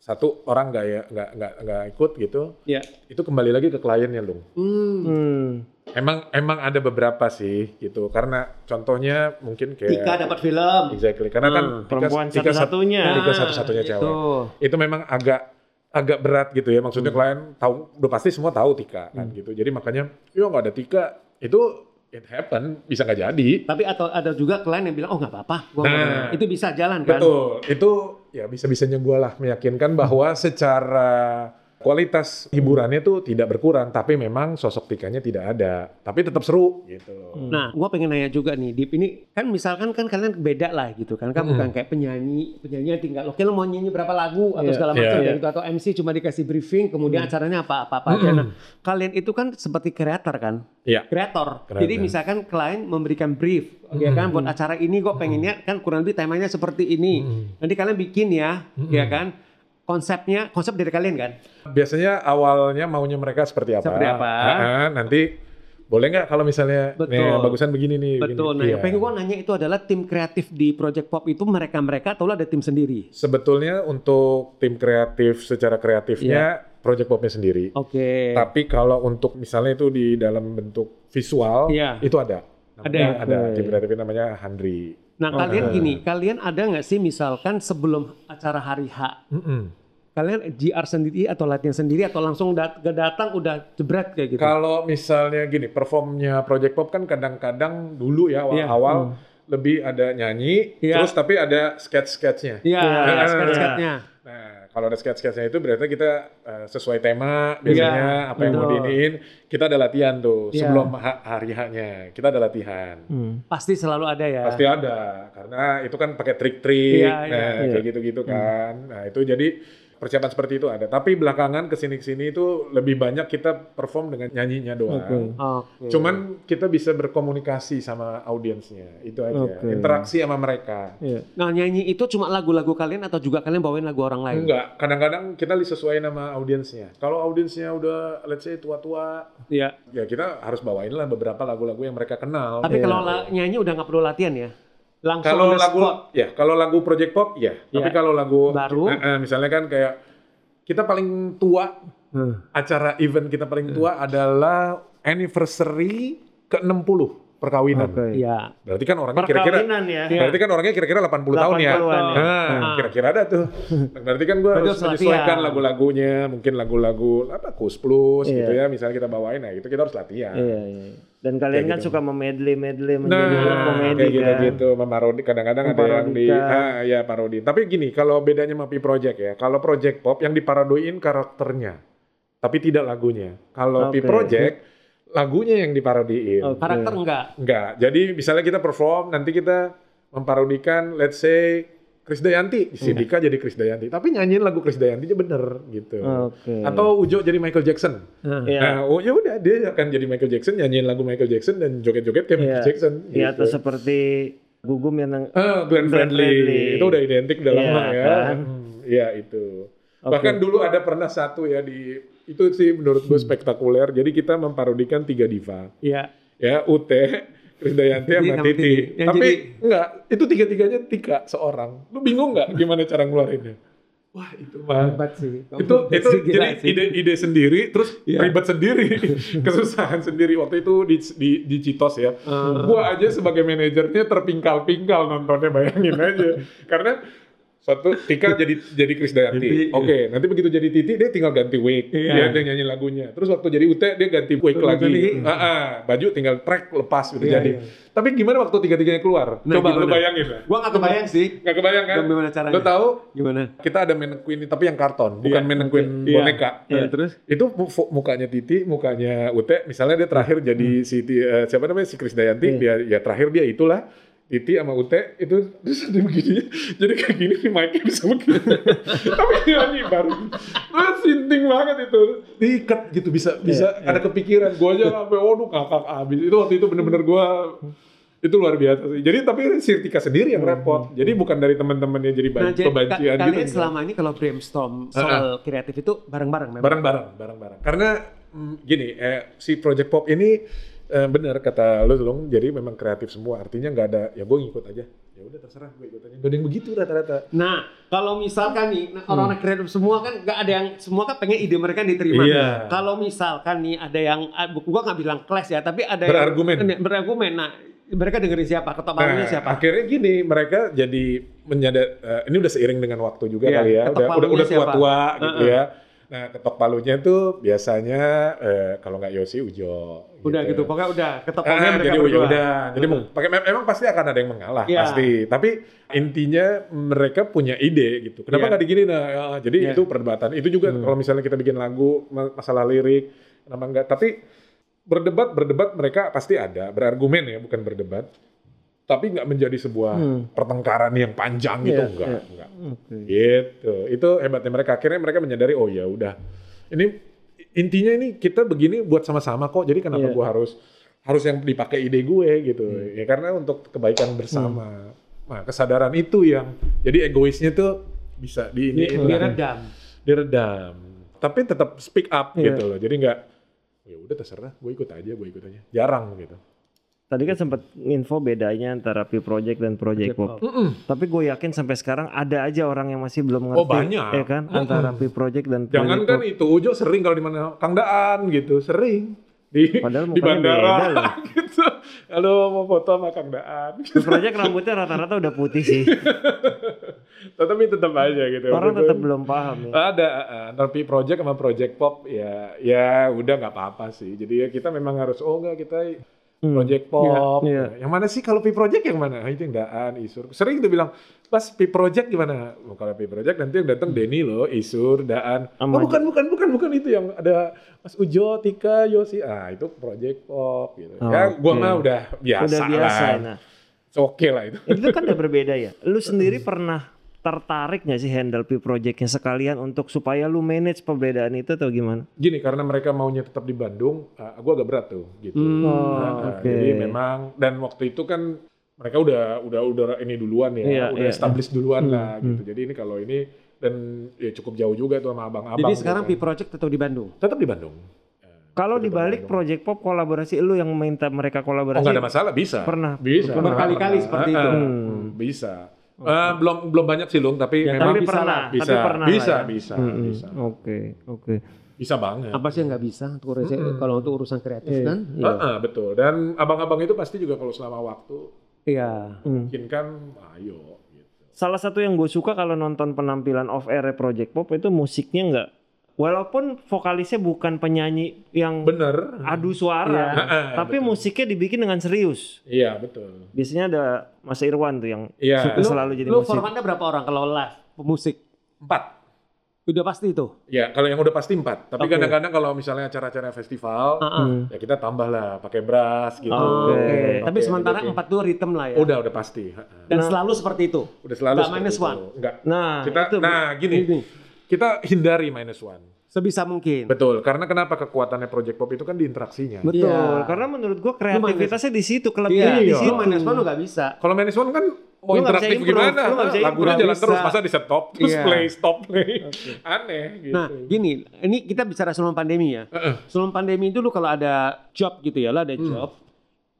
C: Satu orang nggak ya nggak nggak nggak ikut gitu.
B: iya.
C: Itu kembali lagi ke kliennya dong.
B: Hmm.
A: Hmm.
C: Emang emang ada beberapa sih gitu. Karena contohnya mungkin kayak
B: Tika dapat film.
C: Exactly. Karena kan
B: Hmm,
C: Tika-
A: Perempuan
C: Tika sat-
A: satu-satunya.
C: Nah, Tika
B: Ah,
C: satu-satunya
B: gitu.
C: cewek. itu memang agak agak berat gitu ya maksudnya klien tahu udah pasti semua tahu Tika kan gitu jadi makanya yo nggak ada Tika itu it happen bisa nggak jadi
B: Tapi atau ada juga klien yang bilang, oh nggak apa-apa, gua nggak
C: Nah.
B: apa-apa." itu bisa jalan kan?
C: betul itu ya bisa bisanya gue lah meyakinkan bahwa secara kualitas hiburannya tuh tidak berkurang tapi memang sosok Tikanya tidak ada tapi tetap seru gitu loh
A: Hmm.
B: Nah, gua pengen nanya juga nih, Dip ini kan misalkan kan kalian beda lah gitu kan, kan
C: Mm-mm.
B: bukan kayak penyanyi, penyanyi tinggal oke lo mau nyanyi berapa lagu atau
A: Iya.
B: segala macam
C: Iya.
B: ya gitu atau MC cuma dikasih briefing, kemudian acaranya apa-apa apa aja. Nah, kalian itu kan seperti kreator kan,
C: Iya.
B: kreator.
C: Kreator. Mm-hmm.
B: Jadi misalkan klien memberikan brief, oke
C: Mm-mm.
B: kan buat acara ini gue pengennya
C: Mm-hmm.
B: kan kurang lebih temanya seperti ini.
C: Mm-mm.
B: Nanti kalian bikin ya,
C: Mm-mm.
B: ya kan? Konsepnya, konsep dari kalian kan?
C: biasanya awalnya maunya mereka seperti apa
B: Seperti apa?
C: Ah, ah, nanti boleh nggak kalau misalnya
B: Betul.
C: nih, bagusan begini nih begini.
B: Betul. Nah,
C: Iya.
B: yang pengen gue nanya itu adalah tim kreatif di Project Pop itu mereka-mereka atau lo ada tim sendiri?
C: Sebetulnya untuk tim kreatif secara kreatifnya
B: Iya.
C: Project Popnya sendiri.
B: Oke.
C: Tapi kalau untuk misalnya itu di dalam bentuk visual
B: Iya.
C: itu ada.
B: Ada. Iya,
C: Namanya ada
A: Oke.
C: tim kreatifnya namanya Handri.
B: Nah,
A: Oh,
B: kalian
C: ada.
B: gini, kalian ada nggak sih misalkan sebelum acara hari H,
C: Mm-mm.
B: kalian GR sendiri atau latihan sendiri atau langsung dat- datang udah jebret kayak gitu?
C: Kalau misalnya gini, performnya Project Pop kan kadang-kadang dulu ya
B: Iya.
C: awal-awal lebih ada nyanyi,
B: Iya.
C: terus tapi ada sketch-sketchnya.
B: Iya,
A: Iya.
B: ya, sketch-sketchnya.
C: Nah, kalau ada sketch-sketchnya itu berarti kita eh, sesuai tema biasanya apa yang
B: Iya.
C: mau
B: betul.
C: diiniin, kita ada latihan tuh
B: Iya.
C: sebelum ha- hari H-nya. Kita ada latihan.
A: Hmm.
B: Pasti selalu ada ya.
C: Pasti ada, karena itu kan pakai trik-trik,
B: Iya, iya,
C: nah,
A: Iya. iya.
C: kayak gitu-gitu kan. Nah itu jadi persiapan seperti itu ada. Tapi belakangan kesini-kesini itu lebih banyak kita perform dengan nyanyinya doang.
A: Oke.
B: Oke.
C: Cuman kita bisa berkomunikasi sama audiensnya, itu
A: Oke.
C: aja. Interaksi sama mereka.
A: Iya.
B: Nah nyanyi itu cuma lagu-lagu kalian atau juga kalian bawain lagu orang
A: Hmm.
B: lain?
C: Enggak, kadang-kadang kita sesuai nama audiensnya. Kalau audiensnya udah let's say tua-tua,
B: Iya.
C: ya kita harus bawain lah beberapa lagu-lagu yang mereka kenal.
B: Tapi
A: Iya.
B: kalau la- nyanyi udah nggak perlu latihan ya? Langsung
C: kalau
B: on the
C: lagu
B: spot.
C: ya kalau lagu project pop ya
B: Ya.
C: tapi kalau lagu
B: Baru.
C: Eh, eh, misalnya kan kayak kita paling tua
B: Hmm.
C: acara event kita paling tua
B: Eh.
C: adalah anniversary ke-60 perkawinan
A: Oke.
B: Iya.
C: berarti kan orangnya kira-kira
A: Perkawinan ya.
C: berarti kan orangnya kira-kira 80, tahun ya
A: 80-an ya.
C: Nah,
B: Ah.
C: kira-kira ada tuh berarti kan gue
B: Berarti
C: harus
B: harus
C: menyesuaikan
B: latihan.
C: lagu-lagunya mungkin lagu-lagu apa kus plus
A: Iya.
C: gitu ya misalnya kita bawain nah itu kita harus latihan
A: Iya, iya. Dan kalian
C: Kayak
A: kan
C: gitu.
A: suka memedley-medley menjadi nah,
C: Nah,
A: komedi
C: kayak
A: kan.
C: gitu-gitu memarodi kadang-kadang ada yang di
A: Memparodikan.
C: ah, ya parodi. Tapi gini, kalau bedanya sama P Project ya, kalau Project Pop yang diparodoin karakternya, tapi tidak lagunya. Kalau P
A: Oke.
C: Project lagunya yang
A: Oke.
C: diparodiin.
B: Karakter enggak?
C: Enggak. Jadi misalnya kita perform, nanti kita memparodikan let's say
A: Iya.
C: Krisdayanti, si Dika jadi Krisdayanti, tapi nyanyiin lagu Krisdayantinya bener gitu.
A: Oke.
C: Atau Ujo jadi Michael Jackson.
B: Nah.
A: Iya.
C: Nah, oh, ya udah dia akan jadi Michael Jackson nyanyiin lagu Michael Jackson dan joget-joget kayak Michael
A: Iya.
C: Jackson.
A: Iya, atau
C: gitu.
A: seperti gugum yang nang-
C: Ah, Glenn
A: Glenn
C: Fredly.
A: Fredly.
C: Itu udah identik udah
A: Iya,
C: lama ya.
A: kan?
C: Hmm, Iya itu.
A: Oke.
C: Bahkan dulu ada pernah satu ya di itu sih menurut gue spektakuler. Jadi kita memparodikan tiga diva.
B: Iya.
C: Ya, Ute, Krisdayanti
B: Titi
C: sama
B: sama Titi.
C: Titi.
B: Yang
C: Tapi
B: jadi-
C: enggak, itu tiga-tiganya tiga seorang. Lu bingung nggak gimana cara ngeluarinnya? Wah, itu mah
B: Hebat sih. Kamu [LAUGHS]
C: itu
B: hebat
C: itu
B: sih, gila
C: jadi
B: sih. Iya.
C: ide-ide sendiri terus ribet sendiri [LAUGHS] kesusahan sendiri waktu itu di di, di Citos ya
B: Ah.
C: gua aja sebagai manajernya terpingkal-pingkal nontonnya bayangin aja karena satu Tika jadi jadi Krisdayanti.
B: Jadi-
C: Oke, nanti begitu jadi Titi dia tinggal ganti wig.
B: Iya.
C: Dia, dia nyanyi lagunya. Terus waktu jadi Ute dia ganti wig
B: Ganti
C: lagi.
B: lagi.
C: Ah, ah, baju tinggal track lepas udah
B: Iya,
C: jadi.
B: iya.
C: Tapi gimana waktu tiga-tiganya keluar?
B: Nah,
C: Coba lu
B: gimana?
C: bayangin lah.
B: Gua nggak kebayang sih.
C: Gak kebayang kan?
B: Gimana caranya?
C: Lu tahu
B: Gimana?
C: kita ada mannequin tapi yang karton, bukan mannequin
B: Iya.
C: boneka.
B: Nah, terus?
C: Itu mu- fu- mukanya Titi, mukanya Ute, misalnya dia
B: Hmm.
C: terakhir jadi si Ti- eh, siapa namanya si Krisdayanti, dia ya terakhir dia itulah Titi sama Ute itu terus [LAUGHS] dia begini. Jadi kayak gini si mic bisa begini.
B: [LAUGHS]
C: Tapi dia nyanyi baru. Terus sinting banget itu. Diikat gitu bisa
B: Iya,
C: bisa ada kepikiran gua aja sampai waduh kakak abis itu waktu itu bener-bener gua itu luar biasa sih. Jadi tapi si Tika sendiri yang repot. Jadi bukan dari teman-temannya jadi
B: Hmm. Nah,
C: ban-
B: jadi ka-
C: kebancian
B: kalian
C: gitu.
B: selama ini kalau brainstorm soal kreatif itu bareng-bareng memang.
C: Barang-barang, barang-barang. Karena mm, gini, eh, si Project Pop ini eh, benar kata lu dong, jadi memang kreatif semua. Artinya nggak ada, ya gue ngikut aja. Ya udah terserah gue ikut aja. Gak ada yang begitu rata-rata.
B: Nah, kalau misalkan nih nah, orang-orang
C: Hmm.
B: kreatif semua kan nggak ada yang semua kan pengen ide mereka diterima.
C: Iya.
B: Kalau misalkan nih ada yang ah, bu- gua nggak bilang clash ya, tapi ada
C: Berargumen.
B: yang berargumen. Nah, mereka dengerin siapa? Ketopangnya
C: Nah,
B: siapa?
C: akhirnya gini, mereka jadi menyadar eh, ini udah seiring dengan waktu juga
B: Iya,
C: kali ya.
B: ketok
C: Udah udah
B: palunya
C: udah
B: siapa?
C: tua-tua gitu
B: Heeh.
C: ya. Nah, ketok palunya tuh biasanya eh, kalau nggak Yosi Ujo.
B: Udah gitu, pokoknya udah
C: Ah,
B: ketopangnya mereka
C: jadi
B: berdua.
C: ya udah, jadi
B: Heeh.
C: mem- pakai mem- emang pasti akan ada yang mengalah
B: Iya.
C: pasti. Tapi intinya mereka punya ide gitu. Kenapa
B: Iya.
C: nggak digini nah? ya, jadi
B: Iya. Hmm.
C: itu perdebatan. Itu juga kalau misalnya kita bikin lagu ma- masalah lirik, kenapa enggak? Tapi berdebat berdebat mereka pasti ada berargumen ya, bukan berdebat. Tapi nggak menjadi sebuah
B: Hmm.
C: pertengkaran yang panjang gitu,
A: Iya,
C: enggak,
A: iya.
C: enggak.
A: Oke.
C: Gitu. Itu hebatnya mereka. Akhirnya mereka menyadari, oh ya udah. Ini intinya ini kita begini buat sama-sama kok. Jadi kenapa
A: Iya. Hmm.
C: gua harus harus yang dipakai ide gue gitu. Ya karena untuk kebaikan bersama. Nah, kesadaran itu yang jadi egoisnya tuh bisa di
A: Iya,
C: ini
B: Di-
A: kan?
B: diredam.
C: diredam. Tapi tetap speak up
A: Iya.
C: gitu loh. Jadi nggak ya udah terserah, gue ikut aja, gue ikut aja. Jarang gitu.
A: Tadi kan sempat info bedanya antara P Project dan Project Pop. Tapi gue yakin sampai sekarang ada aja orang yang masih belum ngerti.
C: Oh, banyak.
A: Ya kan? Antara P Project dan Project
C: Jangan kan
A: Pop.
C: itu Ujo sering kalau di mana Kang Daan gitu, sering di
A: Padahal mukanya
C: di bandara
A: beda loh.
C: [LAUGHS] gitu. Halo mau foto sama Kang Daan. [LAUGHS]
A: P Project rambutnya rata-rata udah putih sih.
C: Tapi tetap aja gitu.
A: Orang
C: Maksud gue,
A: tetap belum paham ya.
C: ada eh, antara P project sama project pop ya ya udah nggak apa-apa sih. Jadi ya kita memang harus oh enggak kita
A: Hmm.
C: project pop.
A: Iya.
C: Nah, Yang mana sih kalau P project yang mana? Ah, Itu yang Daan, Isur. Sering tuh bilang, "Mas, P project gimana?" Oh, kalau P project nanti yang datang Denny loh, Isur, Daan.
A: Hmm. Sama
C: oh, bukan bukan bukan bukan itu yang ada Mas Ujo, Tika, Yosi. Ah, itu project pop gitu.
A: Oh,
C: ya gua
A: oke.
C: mah udah biasa,
A: udah biasa.
C: lah.
A: Nah,
C: It's okay lah itu.
A: itu kan udah berbeda ya. Lu sendiri pernah tertarik gak sih handle P Projectnya sekalian untuk supaya lu manage perbedaan itu atau gimana?
C: gini karena mereka maunya tetap di Bandung, eh, gua agak berat tuh gitu.
A: Oh,
C: Nah,
A: oke.
C: Jadi memang dan waktu itu kan mereka udah udah udah ini duluan
A: Iya,
C: ya, udah
A: iya. Hmm,
C: established duluan lah gitu. Jadi ini kalau ini dan ya cukup jauh juga tuh sama abang-abang.
B: Jadi
C: gitu
B: sekarang
C: kan.
B: P Project tetap di Bandung.
C: tetap di Bandung. Oh,
A: Kalau dibalik Project Pop kolaborasi lu yang minta mereka
C: Oh
A: kolaborasi.
C: nggak ada masalah bisa.
A: Pernah.
C: Bisa.
A: Pernah. Hmm.
B: Berkali-kali
C: Pernah.
B: seperti
C: Ah,
B: itu.
C: ah, bisa. Eh, belum belum banyak sih Lung, tapi
B: Ya,
C: memang
A: tapi
B: bisa
A: pernah,
B: lah.
A: tapi
C: bisa,
A: pernah lah
C: bisa,
A: ya.
C: bisa,
A: Mm-mm.
C: bisa,
A: Oke, oke.
C: bisa banget.
B: Apa sih yang nggak bisa untuk urusan- kalau untuk urusan kreatif
A: Iya.
B: kan?
C: Ah, ah, betul. Dan abang-abang itu pasti juga kalau selama waktu
B: Iya.
A: Hmm.
C: mungkin kan, ayo. Gitu.
A: Salah satu yang gue suka kalau nonton penampilan off air Project Pop itu musiknya nggak, walaupun vokalisnya bukan penyanyi yang
C: Bener.
A: adu suara,
B: Iya.
C: Heeh,
A: tapi
C: betul.
A: musiknya dibikin dengan serius.
C: Iya betul.
A: Biasanya ada Mas Irwan tuh yang
C: Iya.
A: suka
C: Lu-
A: selalu jadi
B: Lu
A: musik.
B: formatnya berapa orang kalau live pemusik?
C: Empat.
B: Udah pasti itu.
C: Ya kalau yang udah pasti empat. Tapi
B: Oke.
C: kadang-kadang kalau misalnya acara-acara festival,
B: Ah, ah.
A: Hmm.
C: ya kita tambah lah pakai brass gitu.
A: Oke.
C: Pakai-
B: Tapi sementara
C: pakai-
B: empat tuh ritme lah ya.
C: Udah udah pasti. Heeh.
B: Dan
A: Nah.
B: selalu seperti itu.
C: Udah selalu.
B: Nggak
C: seperti
B: minus
C: itu.
B: one.
C: Nggak.
A: Nah,
C: Kita,
A: itu
C: nah gini,
B: Ini.
C: kita hindari minus one.
B: Sebisa mungkin.
C: Betul. Karena kenapa kekuatannya Project Pop itu kan di interaksinya.
A: betul.
B: Iya.
A: Karena menurut gue
B: Lu main-
A: kreativitasnya di situ,
B: Iya,
A: kelebihannya di situ.
B: lu minus one lu nggak bisa.
C: Kalau minus one kan mau
A: Lu nggak bisa
C: interaktif
A: improve,
C: gimana?
A: lu nggak bisa
C: Lagunya
B: improve.
C: jalan
B: Nggak
C: terus
B: bisa.
C: masa di stop terus
B: Iya.
C: play stop play. Aneh gitu.
B: Nah, gini, ini kita bicara sebelum pandemi ya.
C: Heeh.
B: Sebelum pandemi itu lu kalau ada job gitu ya, lu ada job.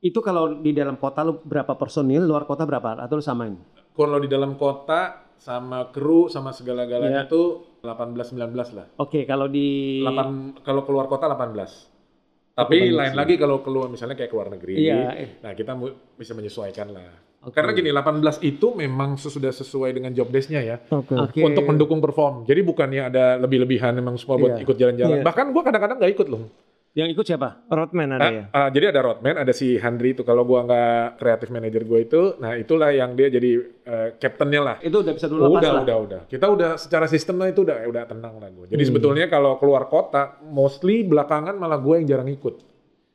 B: Itu kalau di dalam kota lu berapa personil, luar kota berapa? Atau lu samain?
C: kalau di dalam kota sama kru sama segala-galanya tuh 18 19 lah.
B: Oke, kalau Iya. di
C: 8 kalau keluar kota 18. Tapi lain lagi kalau keluar misalnya kayak keluar negeri.
B: Iya.
C: Nah, kita mu- bisa menyesuaikan lah. Karena gini 18 itu memang sesudah sesuai dengan job desk-nya ya.
A: Oke.
B: Oke.
C: Untuk mendukung perform. Jadi bukannya ada lebih-lebihan memang semua buat
B: Iya.
C: ikut jalan-jalan.
A: Iya.
C: Bahkan gua kadang-kadang nggak ikut loh.
B: yang ikut siapa?
A: Roadman ada
C: Nah,
A: ya.
C: ah, jadi ada roadman, ada si Handri itu kalau gua nggak kreatif manager gua itu, nah itulah yang dia jadi eh, captain-nya lah.
B: Itu udah bisa dulu lepas
C: Udah,
B: lah.
C: udah, udah. Kita udah secara sistemnya itu udah udah tenang lah gue.
B: Hmm.
C: Jadi sebetulnya kalau keluar kota, mostly belakangan malah gue yang jarang ikut.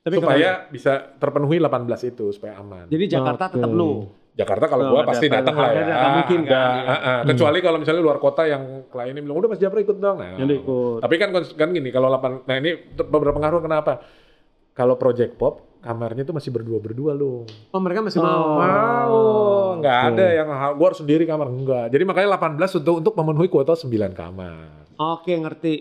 B: Tapi
C: supaya bisa terpenuhi 18 itu supaya aman.
B: Jadi Jakarta tetap
A: Oke.
B: lu.
C: Jakarta
B: Oh,
C: kalau
B: ada
C: gue pasti
B: PLH,
C: datang lah ya.
B: ada, nggak mungkin kan?
C: Ada, ah, ah. Kecuali kalau misalnya luar kota yang kliennya bilang udah Mas Japra ikut dong. Nah,
B: Jadi ikut.
C: Tapi kan kan gini kalau 8 nah ini ter- beberapa pengaruh kenapa? Kalau Project Pop kamarnya tuh masih berdua-berdua loh.
B: Oh, mereka masih
A: Oh.
B: mau.
C: Wow, nggak ada yang gue harus sendiri kamar enggak. Jadi makanya 18 untuk untuk memenuhi kuota 9 kamar.
B: Oke, ngerti.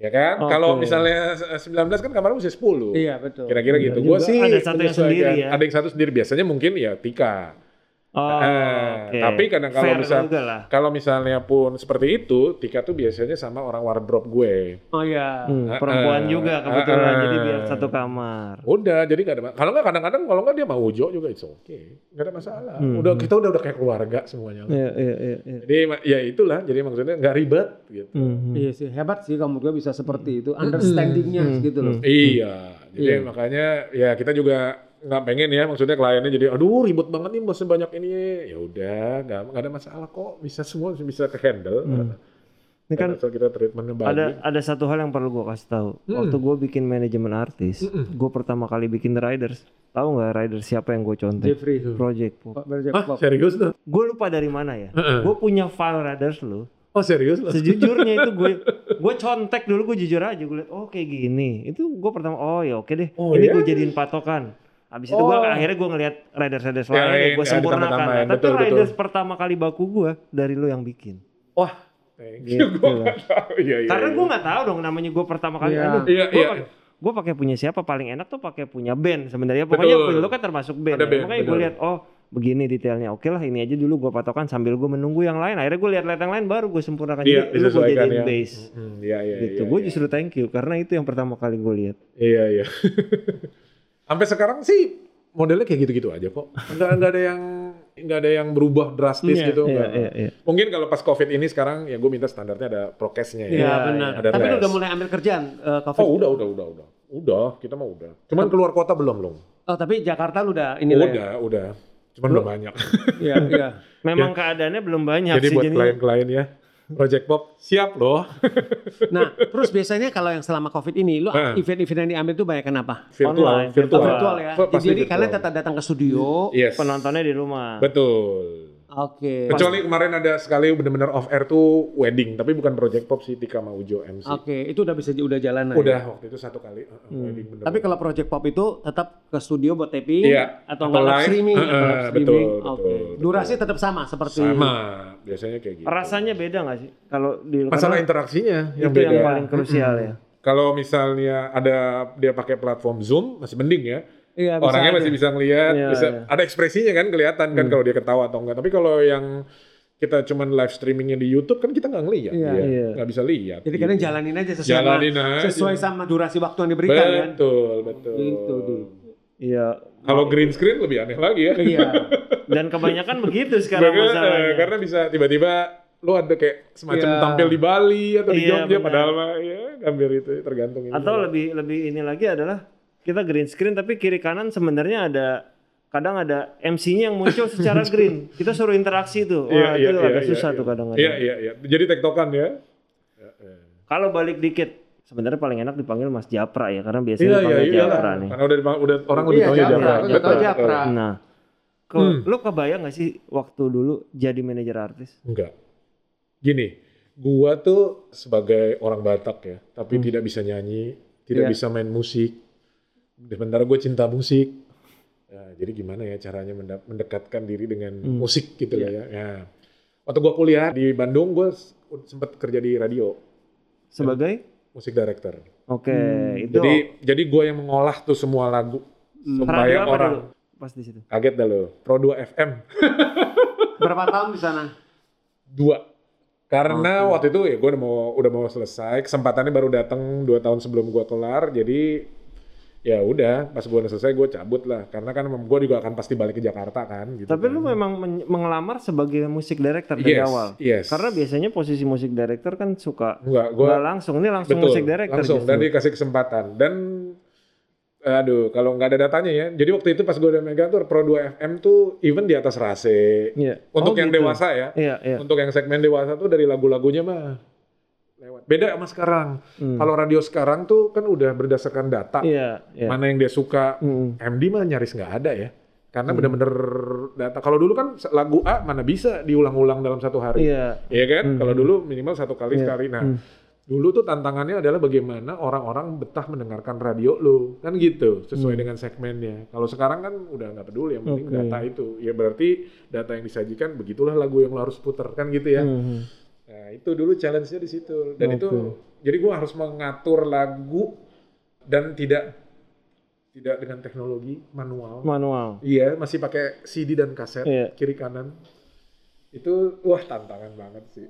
C: Ya kan?
A: Oke.
C: Kalau misalnya eh, 19 kan kamarnya mesti 10.
B: Iya betul.
C: Kira-kira
A: Iya
C: gitu.
A: juga.
C: Gua sih
A: Ada satu yang
C: menyesuaikan.
A: sendiri ya.
C: Ada yang satu sendiri biasanya mungkin ya Tika.
A: Oh,
C: Eh,
A: oke.
C: tapi kadang kalau
A: Fair
C: misal-
A: juga lah.
C: Kalau misalnya pun seperti itu, Tika tuh biasanya sama orang wardrobe gue.
B: Oh iya.
A: Hmm,
C: Eh,
A: perempuan
C: eh,
A: juga kebetulan
C: eh,
A: jadi
C: eh.
A: biar satu kamar.
C: Udah, jadi nggak ada. ma- Kalau nggak kadang-kadang kalau nggak dia mau ujo juga it's okay, nggak ada masalah.
A: Hmm.
C: Udah kita udah udah kayak keluarga semuanya.
A: Iya, iya, iya, iya.
C: Jadi ma- ya itulah. Jadi maksudnya nggak ribet gitu.
A: Mhm.
B: Iya sih hebat sih kamu gue bisa seperti
C: Hmm.
B: itu understandingnya
A: Mm-mm.
B: gitu loh.
C: Iya.
A: Hmm.
C: Jadi
B: Iya.
C: makanya ya kita juga nggak pengen ya maksudnya kliennya jadi aduh ribet banget nih masih banyak ini ya udah nggak nggak ada masalah kok bisa semua bisa ke handle
A: Hmm. Ini kan
C: asal kita treatmentnya bagus
A: ada ada satu hal yang perlu gua kasih tahu.
C: Mm.
A: Waktu gua bikin manajemen artis,
C: Mm-mm.
A: gua pertama kali bikin riders. Tahu nggak riders siapa yang gua contek?
B: Jeffrey.
A: Project Pop.
B: Pak Berjek
C: Hmm. Hah,
B: Pop.
C: serius loh
A: Gue lupa dari mana ya.
C: Heeh.
A: Gue punya file riders lo.
C: oh serius loh
A: Sejujurnya itu gue gue contek dulu gue jujur aja gue liat oh kayak gini. Itu gue pertama oh ya oke deh.
C: Oh,
A: Ini
C: ya?
A: gue jadiin patokan. Abis itu gue
C: Oh.
A: akhirnya gue ngeliat riders riders
C: Ya,
A: lain
C: ya,
A: gue
C: ya,
A: sempurnakan. Nah,
C: ditambah-tambahin.
A: Tapi
C: Betul, betul.
A: riders pertama kali baku gue dari lo yang bikin.
C: wah thank
A: Gitu
C: you gue
A: lah.
C: nggak tahu Iya, iya,
A: Karena
C: iya.
A: gue nggak tahu dong namanya gue pertama kali.
B: Iya.
A: Aduh,
C: Iya,
A: gue
C: iya.
A: pakai gue pakai punya siapa paling enak tuh pakai punya band sebenarnya. Pokoknya
C: Betul.
A: punya lo kan termasuk band. ya.
C: Ada band,
A: Makanya gue
C: betul.
A: lihat oh begini detailnya. Oke lah ini aja dulu gue patokan sambil gue menunggu yang lain. Akhirnya gue lihat-lihat yang lain baru gue sempurnakan. Jadi lu
C: Iya,
A: gue
C: disesuaikan
A: jadiin
C: ya.
A: bass.
C: Hmm, Iya, iya,
A: gitu.
C: iya,
A: gue
C: iya.
A: justru thank you karena itu yang pertama kali gue lihat.
C: Iya, iya. [LAUGHS] Sampai sekarang sih modelnya kayak gitu-gitu aja kok. Enggak enggak ada yang enggak ada yang berubah drastis
B: Iya,
C: gitu.
A: Iya,
C: nggak.
A: iya, iya.
C: Mungkin kalau pas Covid ini sekarang ya gue minta standarnya ada prokesnya ya.
B: Iya
A: Iya,
B: benar.
C: ada
B: Tapi lu
C: tes.
B: udah mulai ambil kerjaan eh, COVID.
C: Oh, udah, udah, udah, udah. Udah, kita mah udah. Cuman keluar kota belum, belum.
B: Oh, tapi Jakarta lu udah ini lah ya.
C: Udah, udah. Cuman belum
B: [LAUGHS]
C: banyak.
B: Iya, iya.
A: Memang keadaannya belum banyak
C: Jadi
A: sih
C: buat
A: jadi-
C: klien-klien ya, Project Pop siap
B: [LAUGHS]
C: loh.
B: Nah, terus biasanya kalau yang selama Covid ini lu
C: Heeh.
B: event-event yang diambil tuh banyak kenapa?
A: Online, virtual.
B: Oh,
C: Virtual, virtual.
B: virtual ya.
C: Pasti
B: Jadi
C: virtual. Iya.
B: kalian tetap datang ke studio.
C: Yes.
A: penontonnya di rumah.
C: Betul.
B: Oke.
C: Kecuali kemarin ada sekali bener-bener off air tuh wedding, tapi bukan project pop sih Tika sama Ujo MC.
B: Oke, itu udah bisa udah jalan
C: Udah waktu itu satu kali uh, uh, wedding
B: iya.
C: bener.
B: Hmm. Tapi kalau project pop itu tetap ke studio buat taping atau
C: Iya. Atau
B: nggak live
C: live.
B: streaming,
C: Heeh,
B: atau live streaming. Oke.
C: betul, betul, betul.
B: Durasi tetap sama seperti
C: sama biasanya kayak gitu.
A: Rasanya beda nggak sih kalau di
C: masalah
A: karena
C: interaksinya yang
A: itu
C: beda.
A: yang paling krusial ya.
C: Kalau misalnya ada dia pakai platform Zoom masih mending ya.
B: Iya, bisa
C: Orangnya
B: aja.
C: masih bisa ngelihat,
A: Iya,
C: bisa
A: iya. Hmm.
C: ada ekspresinya kan kelihatan kan kalau dia ketawa atau enggak. Tapi kalau yang kita cuman live streamingnya di YouTube kan kita nggak ngelihat,
B: Iya.
C: dia.
A: Iya.
C: nggak bisa lihat. Iya.
B: Jadi kalian jalanin aja sesuai
C: Jalanin
B: sama,
C: aja.
B: sesuai sama durasi waktu yang diberikan kan.
C: betul, betul.
B: Gitu, Dik.
A: Iya.
C: Kalau green screen lebih aneh lagi ya. [LAUGHS]
B: Iya.
A: Dan kebanyakan begitu sekarang
C: Karena, eh,
A: masalahnya.
C: karena bisa tiba-tiba lu ada kayak semacam
B: Iya.
C: tampil di Bali atau di
A: Iya,
C: Jogja
A: benar.
C: padahal mah ya hampir itu tergantung ini.
A: Atau lebih lebih ini lagi adalah kita green screen tapi kiri kanan sebenarnya ada kadang ada MC-nya yang muncul
C: [LAUGHS]
A: secara green. Kita suruh interaksi tuh. Wah, itu agak susah tuh kadang-kadang.
C: Iya iya iya. Jadi tektokan ya.
A: Kalau balik dikit sebenarnya paling enak dipanggil Mas Japra ya karena biasanya
C: Iya iya
A: dipanggil
C: iya.
A: Japra nih.
C: Karena udah dipang- udah orang lebih
B: Iya,
C: tahu ya
B: Japra,
C: Japra.
B: udah tahu Japra.
A: Nah, ke,
C: Hmm.
A: lu kebayang gak sih waktu dulu jadi manajer artis?
C: Enggak. Gini, gua tuh sebagai orang Batak ya, tapi tidak bisa nyanyi, tidak
B: Iya.
C: bisa main musik. Sementara gue cinta musik. Ya, jadi gimana ya caranya mendap- mendekatkan diri dengan musik gitu lah ya. Ya. Waktu gua kuliah di Bandung, gue sempat kerja di radio,
A: Sebagai
C: musik director.
A: Oke, itu
C: Hmm. Jadi jadi gue yang mengolah tuh semua lagu
A: radio
C: supaya
A: apa
C: orang Gitu,
A: dulu? Pas di situ.
C: kaget dah lo. Pro 2 FM.
B: Berapa tahun di sana?
C: dua karena waktu itu ya gue udah mau udah mau selesai kesempatannya baru datang dua tahun sebelum gue kelar jadi ya udah pas gue udah selesai gue cabut lah karena kan gue juga akan pasti balik ke Jakarta kan gitu
A: Tapi
C: kan.
A: lu memang men- mengelamar sebagai musik director dari
C: Yes,
A: awal.
C: yes.
A: Karena biasanya posisi musik director kan suka
C: enggak gue
A: nggak langsung ini langsung
C: betul
A: musik director gitu.
C: langsung
A: justru.
C: dan dikasih kesempatan dan aduh kalau nggak ada datanya ya jadi waktu itu pas gue udah megang tuh Pro 2 FM tuh even di atas rase
A: Iya.
C: untuk
A: Oh,
C: yang
A: gitu.
C: dewasa ya
A: Iya, iya.
C: Untuk yang segmen dewasa tuh dari lagu-lagunya mah lewat. Beda sama sekarang.
A: Hmm.
C: Kalau radio sekarang tuh kan udah berdasarkan data.
A: Iya, iya.
C: Mana yang dia suka.
A: Mm.
C: MD mah nyaris nggak ada ya.
A: Hmm.
C: Karena bener-bener data. Kalau dulu kan lagu A mana bisa diulang-ulang dalam satu hari.
A: Iya. Hmm.
C: Iya kan? Kalau dulu minimal satu kali sekali. Nah, dulu tuh tantangannya adalah bagaimana orang-orang betah mendengarkan radio lo. Kan gitu, sesuai dengan segmennya. Kalau sekarang kan udah nggak peduli, yang penting
A: Hmm. Oke.
C: data itu. Ya berarti data yang disajikan begitulah lagu yang lo harus puter. Kan gitu ya.
A: Mhm.
C: Eh, Nah, itu dulu challenge-nya di situ. Dan itu
A: Oke.
C: jadi gua harus mengatur lagu dan tidak tidak dengan teknologi manual.
A: manual.
C: Iya, masih pakai CD dan kaset
A: Iya.
C: kiri kanan. Itu wah tantangan banget sih.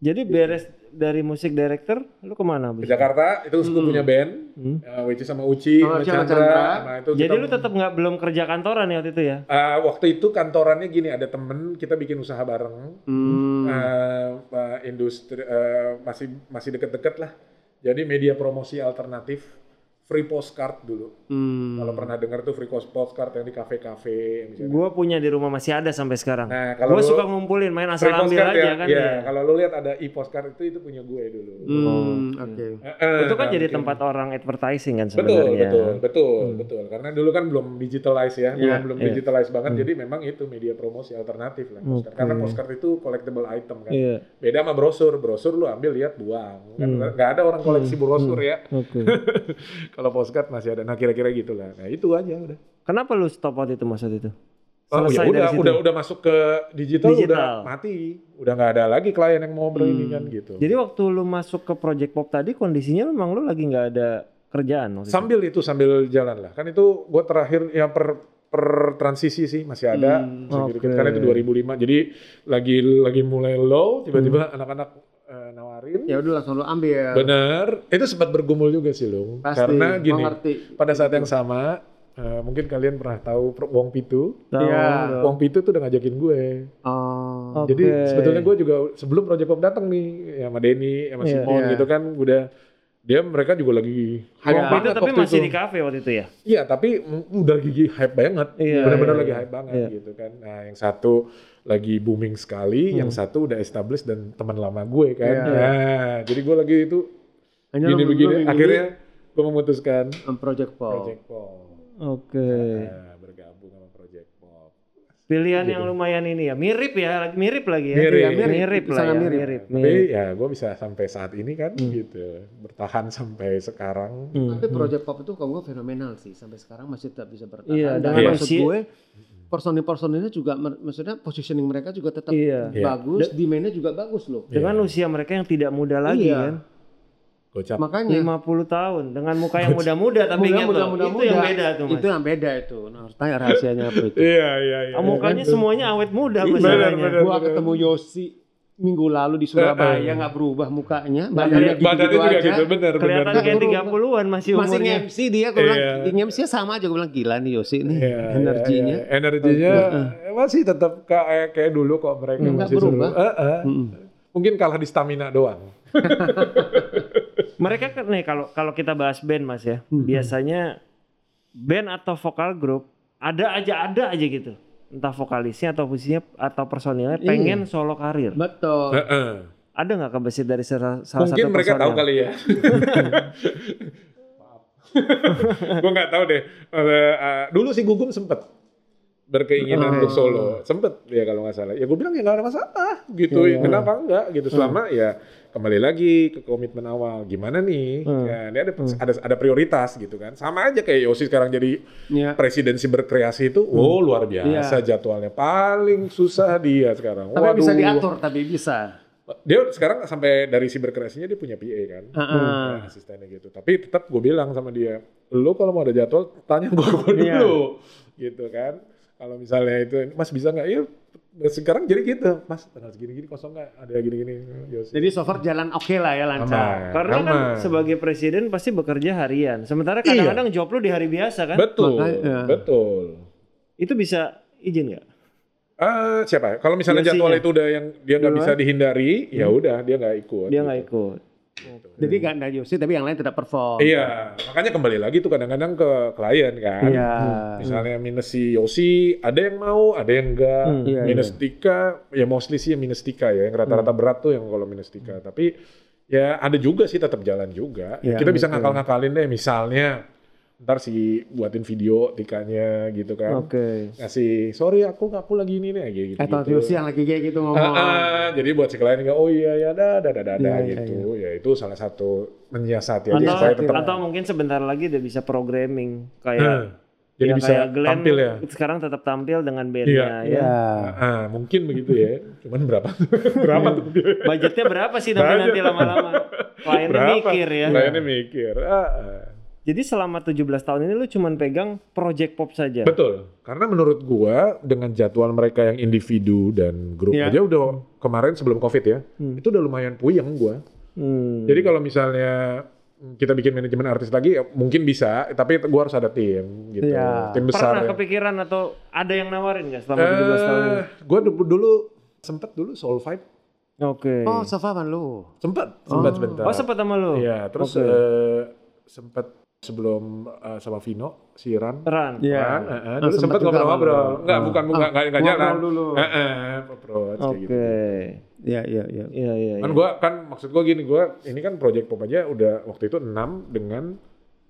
A: Jadi beres dari musik director, lu kemana? Bus?
C: Ke Jakarta itu sepupunya punya band,
A: Hmm.
C: eh, Weci sama Uci,
B: Oh,
C: sama
B: sama
C: Chandra.
B: Chandra.
C: Nah, itu
A: Jadi
C: kita-
A: lu tetap nggak belum kerja kantoran ya waktu itu ya?
C: Eh, waktu itu kantorannya gini, ada temen kita bikin usaha bareng.
B: Hmm.
C: eh eh, industri eh, masih masih deket-deket lah. Jadi media promosi alternatif free postcard dulu.
B: Hmm.
C: Kalau pernah dengar tuh free post- postcard yang di kafe-kafe yang di sana.
A: Gua punya di rumah masih ada sampai sekarang.
C: Nah, kalau
A: Gua
C: lu-
A: suka ngumpulin main asal
C: Free
A: ambil
C: postcard
A: aja
C: ya,
A: kan.
C: iya.
A: ya.
C: Kalau lu lihat ada e-postcard itu itu punya gue dulu.
B: Hmm,
A: Oh,
B: oke.
C: Eh, eh,
A: Itu kan
C: nah,
A: jadi
C: mungkin.
A: tempat orang advertising kan
C: Betul,
A: sebenarnya. Hmm.
C: betul, betul, betul. Karena dulu kan belum digitalize ya, belum belum
A: iya.
C: digitalize banget. Jadi memang itu media promosi alternatif lah. postcard. Karena postcard itu collectible item kan.
A: Iya.
C: Beda sama brosur, brosur lu ambil lihat buang. Kan
A: Hmm.
C: nggak ada orang koleksi brosur ya.
A: Oke.
C: Kalau postcard masih ada. Nah, kira-kira gitulah. Nah, itu aja udah.
A: Kenapa lu stop waktu itu masa itu?
C: Oh, ya
A: Selesai
C: udah,
A: dari situ.
C: udah udah masuk ke digital, udah
A: Digital. Hmm.
C: mati. Udah nggak ada lagi klien yang mau beli ini kan gitu.
A: Jadi waktu lu masuk ke Project Pop tadi kondisinya memang lu lagi nggak ada kerjaan waktu itu?
C: sambil itu sambil jalan lah. Kan itu gua terakhir yang per per transisi sih masih ada sedikit-sedikit.
A: oke.
C: karena itu 2005. Jadi lagi lagi mulai low, tiba-tiba anak-anak eh, nawarin.
B: Ya udah langsung lu ambil.
C: Bener, itu sempat bergumul juga sih Lung.
B: Pasti. Gua
C: Karena gini,
B: ngerti.
C: pada saat yang sama, eh, mungkin kalian pernah tahu Pro- Wong Pitu.
A: Tahu
B: Iya.
A: dong.
C: Wong Pitu tuh udah ngajakin gue.
B: Oh.
A: Oke.
C: Jadi sebetulnya gue juga sebelum Project Pop datang nih, ya sama Denny, ya sama
A: Iya.
C: Simon
B: Iya.
C: gitu kan, udah dia mereka juga lagi
B: Wong
C: hype
A: Waktu Ya, itu
C: banget
A: tapi
C: waktu
A: masih
C: itu.
A: di kafe waktu itu ya.
C: Iya, tapi mm, udah gigi hype banget.
A: Iya,
C: Benar-benar
A: iya,
C: lagi
A: iya.
C: hype banget
A: Iya.
C: gitu kan. Nah, yang satu lagi booming
A: Hmm.
C: sekali, yang satu udah established dan teman lama gue kan.
B: Iya.
C: Nah, jadi gue lagi itu
B: Hanya lu- lu
C: gini-begini.
B: mengikuti,
C: Akhirnya gue memutuskan
B: um, Project Pop.
A: Oh.
C: Project Pop.
A: Oke.
C: Nah, bergabung sama Project Pop.
A: Pilihan yang lumayan ini ya. Mirip ya, lagi- mirip lagi ya.
C: Iya. Mirip.
A: Iya, mirip, mirip lah
B: Sangat
A: ya.
B: mirip.
A: Mirip.
C: Nah,
A: mirip.
C: tapi ya gue bisa sampai saat ini kan gitu. Bertahan sampai sekarang.
A: Hmm.
B: Tapi Project Pop itu kalau gue fenomenal sih sampai sekarang masih tetap bisa bertahan.
A: Iya,
B: Dan
A: iya.
B: maksud
A: Iya.
B: gue personil-personilnya juga mer- maksudnya positioning mereka juga tetap
A: Iya.
B: bagus, demand-nya juga bagus loh.
A: Dengan usia mereka yang tidak muda lagi
B: Iya.
A: kan.
C: Gocap.
B: Makanya
A: 50 tahun dengan muka yang muda-muda tapi
B: mudah,
A: ingat
B: mudah,
A: loh,
B: mudah,
A: itu
B: mudah.
A: yang beda tuh Mas.
B: Itu yang beda itu. Nah, harus tanya rahasianya apa itu.
C: Iya, iya, iya.
A: Ah, mukanya semuanya awet muda
C: Benar,
A: masalahnya.
C: benar. Eh,
B: gua ketemu Yosi minggu lalu di Surabaya nggak berubah mukanya, badannya gitu,
C: Nah, iya. Badannya juga
B: aja.
C: gitu, benar, benar.
A: Kelihatan kayak 30-an masih
B: Masih
A: umurnya.
B: nge-MC dia, gue bilang,
C: Iya.
B: di nge-MC sama aja, gue bilang, gila nih Yosi nih,
C: Iya,
B: energinya.
C: iya, iya. energinya eh, masih tetap kayak kayak dulu kok mereka
B: Nggak
C: masih
B: berubah.
C: seru. Eh, eh. Mungkin kalah di stamina doang.
A: Mereka kan nih kalau kalau kita bahas band Mas ya, biasanya band atau vokal group ada aja ada aja gitu. Entah vokalisnya atau pusinya atau personilnya pengen solo karir.
B: Betul.
C: Eh, eh.
A: Ada nggak kebesit dari salah, salah
C: Mungkin
A: satu
C: mereka
A: personil?
C: tahu kali ya. [LAUGHS] gue nggak tahu deh. Eh, eh, dulu sih Gugum sempet berkeinginan untuk solo, sempet ya kalau nggak salah. Ya gue bilang ya nggak ada masalah gitu. Ya, Kenapa enggak gitu? Selama ya kembali lagi ke komitmen awal. Gimana nih? Ya, ini ada ada ada prioritas gitu kan. Sama aja kayak Yosi sekarang jadi
B: Iya.
C: presidensi berkreasi
B: Hmm.
C: itu wow luar biasa jadwalnya paling susah dia sekarang.
B: Tapi Iya. bisa
C: Waduh.
B: diatur, tapi bisa.
C: Dia sekarang sampai dari si berkreasinya dia punya PA kan.
B: Heeh.
C: Nah, asistennya gitu. Tapi tetap gue bilang sama dia, lu kalau mau ada jadwal tanya gue
B: Iya.
C: dulu, gitu kan. Kalau misalnya itu, Mas bisa nggak? Iya. Sekarang jadi gitu, Mas tanggal segini-gini kosong nggak? Ada gini-gini. Yosi.
B: Jadi so far jalan oke lah ya lancar.
C: Aman,
A: Karena kan
C: aman.
A: sebagai presiden pasti bekerja harian.
C: Iya.
A: Sementara kadang-kadang job lu di hari biasa kan?
C: betul,
B: Makanya. iya.
C: betul.
A: Itu bisa izin nggak?
C: Eh siapa? ya? Kalau misalnya
A: Yosinya.
C: jadwal itu udah yang dia nggak bisa dihindari, ya
B: Hmm.
C: udah dia nggak ikut. gitu.
A: Dia nggak ikut.
B: Jadi gak ada Yosi, tapi yang lain tidak perform.
C: Iya, makanya kembali lagi tuh kadang-kadang ke klien kan.
B: Iya.
C: Misalnya minus si Yosi, ada yang mau, ada yang enggak.
B: iya, Hmm.
C: minus Tika, ya mostly sih yang minus Tika ya. Yang rata-rata berat tuh yang kalau minus Tika. Tapi ya ada juga sih tetap jalan juga. Ya
B: Iya,
C: Kita bisa ngakal-ngakalin deh misalnya. Ntar si buatin video Tikanya gitu kan.
A: Oke.
C: Ngasih, sorry aku aku lagi ini nih. Kayak gitu,
B: Eh, tau Yosi yang lagi kayak gitu ngomong.
C: Ah, ah, jadi buat si klien nggak, oh iya ya ada ada ada gitu. Ya itu salah satu menyiasati aja supaya
A: Atau,
C: tetap Iya.
A: atau mungkin sebentar lagi udah bisa programming kayak
C: Hmm. Jadi
A: Ya,
C: bisa
A: kayak Glenn
C: tampil ya. Iya.
A: Sekarang tetap tampil dengan bandnya ya.
D: Ya.
C: Ah, mungkin begitu ya. Cuman berapa? berapa tuh?
A: Budgetnya berapa sih tapi nanti lama-lama? Kliennya mikir ya.
C: Kliennya mikir. Ah, ah.
A: Jadi selama 17 tahun ini lu cuman pegang project pop saja.
C: Betul. Karena menurut gua dengan jadwal mereka yang individu dan grup
B: Iya.
C: aja udah kemarin sebelum Covid ya.
A: Hmm.
C: Itu udah lumayan puyeng gua.
A: Hmm.
C: Jadi kalau misalnya kita bikin manajemen artis lagi ya mungkin bisa, tapi gua harus ada tim gitu.
D: Iya.
C: Tim besar.
A: pernah
C: ya.
A: kepikiran atau ada yang nawarin nggak selama 17 tahun ini?
C: Eh, gua dulu, dulu sempet dulu Soul Vibe
A: Oke.
B: Oh, Safaman lu.
C: sempet sempet sebentar.
A: Oh, sempat sama lu?
C: Iya, terus
A: Oke.
C: eh, sempet sebelum eh, sama Vino, si Ran.
A: Ran.
D: Iya.
C: Kan, eh, eh,
B: Oh,
C: dulu
B: sempet
C: sempet
B: juga
C: ngobrol-ngobrol.
B: ngobrol.
C: Enggak,
D: Ah.
C: bukan bukan enggak enggak jalan.
B: Ngobrol dulu.
C: Eh, eh, approach, kayak
A: Oke.
C: gitu.
D: Ya, ya, ya.
A: Iya, iya, iya.
C: Kan gua kan maksud gua gini, gua ini kan project pop aja udah waktu itu 6 dengan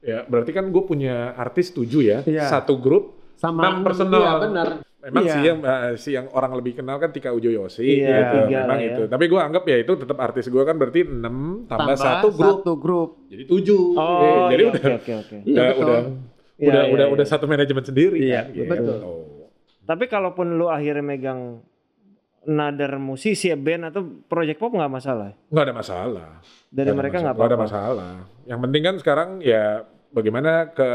C: ya berarti kan gue punya artis 7 ya,
D: Iya.
C: satu grup
B: Sama
C: enam personal.
B: Iya, benar.
C: Memang
D: Iya.
C: sih yang eh, si yang orang lebih kenal kan Tika Ujo Yosi
A: Iya,
C: gitu.
A: tiga lah
C: Memang
A: ya.
C: itu. Tapi gua anggap ya itu tetap artis gua kan berarti 6 tambah, satu grup
B: Satu grup.
C: jadi 7.
A: Oh,
C: jadi
A: iya,
C: udah
A: oke, oke, oke.
B: Iya,
C: udah
B: betul.
C: udah
A: Iya,
C: udah
A: iya,
C: udah
A: iya.
C: udah satu manajemen sendiri
D: Iya,
C: kan. gitu.
B: betul.
A: Tapi kalaupun lu akhirnya megang nadar musisi ya, band atau project pop nggak masalah.
C: Nggak ada masalah.
A: Dari mereka nggak
C: Nggak ada
A: apa-apa.
C: masalah. Yang penting kan sekarang ya bagaimana ke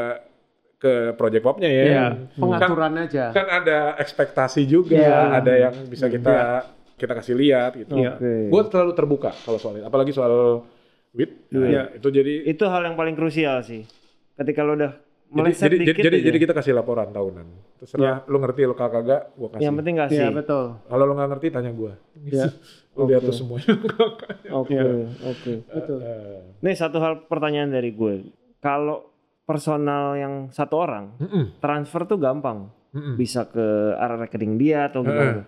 C: ke project popnya ya.
D: Iya,
C: Kan,
B: Pengaturan aja.
C: kan ada ekspektasi juga,
D: Iya.
C: ada yang bisa kita kita kasih lihat gitu.
A: Iya. Oke.
C: Gue terlalu terbuka kalau soal itu, apalagi soal wit.
D: Iya.
C: Itu jadi
A: Itu hal yang paling krusial sih. Ketika lu udah
C: jadi
A: meleset
C: jadi,
A: dikit
C: jadi, jadi, gitu.
A: aja.
C: kita kasih laporan tahunan. Terserah lu ngerti lu kagak kagak, gua kasih.
A: yang penting kasih.
B: Iya, betul.
C: Kalau lu nggak ngerti tanya gua.
D: Iya.
C: [LAUGHS] Lu lihat tuh semuanya. [LAUGHS]
A: Oke, oke.
D: Betul.
C: Eh,
A: Nih satu hal pertanyaan dari gue. Kalau personal yang satu orang
C: mm-mm,
A: transfer tuh gampang.
C: mm-mm.
A: Bisa ke arah rekening dia atau gimana.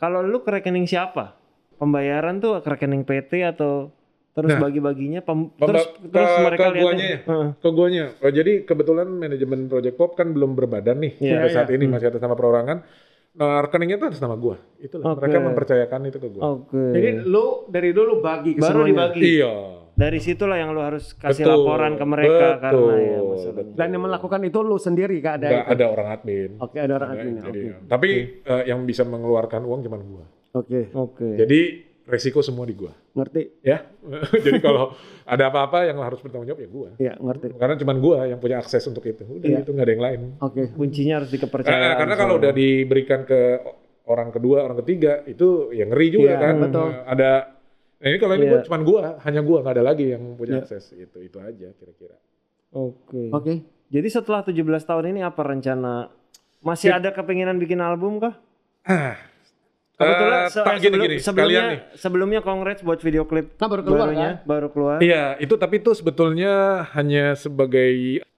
A: Kalau lu ke rekening siapa? Pembayaran tuh ke rekening PT atau terus
C: Nah.
A: bagi-baginya pem-
C: Pemba-
A: terus
C: ke-
A: terus mereka
C: ke
A: lihatnya.
C: guanya ya?
A: Heeh.
C: Ke guanya. Oh, jadi kebetulan manajemen Project Pop kan belum berbadan nih
A: Iya,
C: sampai
D: iya.
C: saat ini masih atas nama perorangan. Nah, rekeningnya tuh atas nama gua.
A: Oke. Oh.
C: Itulah mereka mempercayakan itu ke gua.
A: Oke.
B: Jadi lu dari dulu bagi ke
A: Baru
B: semuanya.
A: dibagi.
C: Iya.
A: Dari situlah yang lu harus kasih
C: Betul,
A: laporan ke mereka
C: betul,
A: karena ya maksudnya.
C: betul.
B: Dan yang melakukan itu lu sendiri Kak ada.
C: Nggak
B: itu?
C: ada orang admin.
A: Oh,
B: Oke, ada orang
C: Ada,
B: adminnya.
C: jadi,
B: Oke.
C: Tapi eh, yang bisa mengeluarkan uang cuma gua.
D: Oke.
A: Oke.
C: Jadi resiko semua di gua.
D: Ngerti?
C: Ya. [LAUGHS] jadi kalau ada apa-apa yang harus bertanggung jawab ya gua.
D: Iya, ngerti.
C: Karena cuma gua yang punya akses untuk itu. Udah
D: Iya.
C: itu nggak ada yang lain.
D: Oke.
A: Kuncinya harus
C: Karena,
A: dikepercayaan.
C: Eh, karena kalau udah diberikan ke orang kedua, orang ketiga, itu ya ngeri juga
D: Iya,
C: kan.
D: betul.
C: Nah, Ada nah ini kalau ini
A: Iya.
C: gua cuman gua, hanya gua nggak ada lagi yang punya
D: Iya.
C: akses. Itu itu aja kira-kira.
A: Oke.
B: Oke.
A: Jadi setelah 17 tahun ini apa rencana? Masih ada kepinginan bikin album kah? Ah. Kebetulan
C: Ya. Eh,
A: se-
C: tak, gini,
A: sebelum-
C: gini,
A: sebelumnya
C: sekalian nih.
A: sebelumnya congrats buat video klip
B: Nah, baru keluar
A: barunya,
B: kan?
A: baru keluar.
C: Iya, itu tapi itu sebetulnya hanya sebagai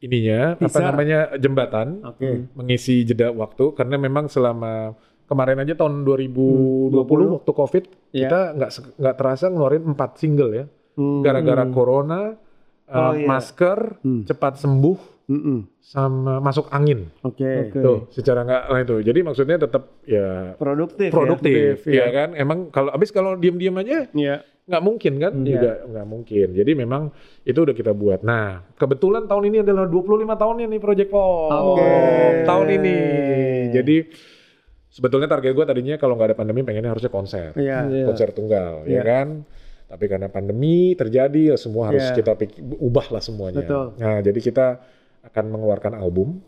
C: ininya
D: Teaser.
C: apa namanya jembatan
D: Oke.
C: mengisi jeda waktu karena memang selama kemarin aja tahun 2020
D: 20.
C: waktu Covid
D: Iya.
C: kita nggak se- nggak terasa ngeluarin 4 single ya.
D: Hmm.
C: Gara-gara corona,
A: Oh,
C: eh,
A: iya.
C: masker,
D: Hmm.
C: cepat sembuh
D: Mm-mm.
C: sama masuk angin.
D: Oke.
A: Oke.
C: Tuh, secara nggak lain tuh. Jadi maksudnya tetap ya
A: Produktif.
C: produktif,
D: Produktif,
C: ya
D: iya.
C: kan. Emang kalau abis kalau diem-diem aja
D: Iya.
C: nggak mungkin kan
D: Hmm.
C: juga nggak mungkin jadi memang itu udah kita buat nah kebetulan tahun ini adalah 25 tahunnya ya nih Project Pop
D: Oke.
C: tahun ini jadi sebetulnya target gue tadinya kalau nggak ada pandemi pengennya harusnya konser
D: Iya.
A: Iya.
C: konser tunggal
D: Iya.
C: ya kan tapi karena pandemi terjadi ya semua harus
D: Iya.
C: kita pik- ubahlah semuanya
D: Betul.
C: nah jadi kita akan mengeluarkan album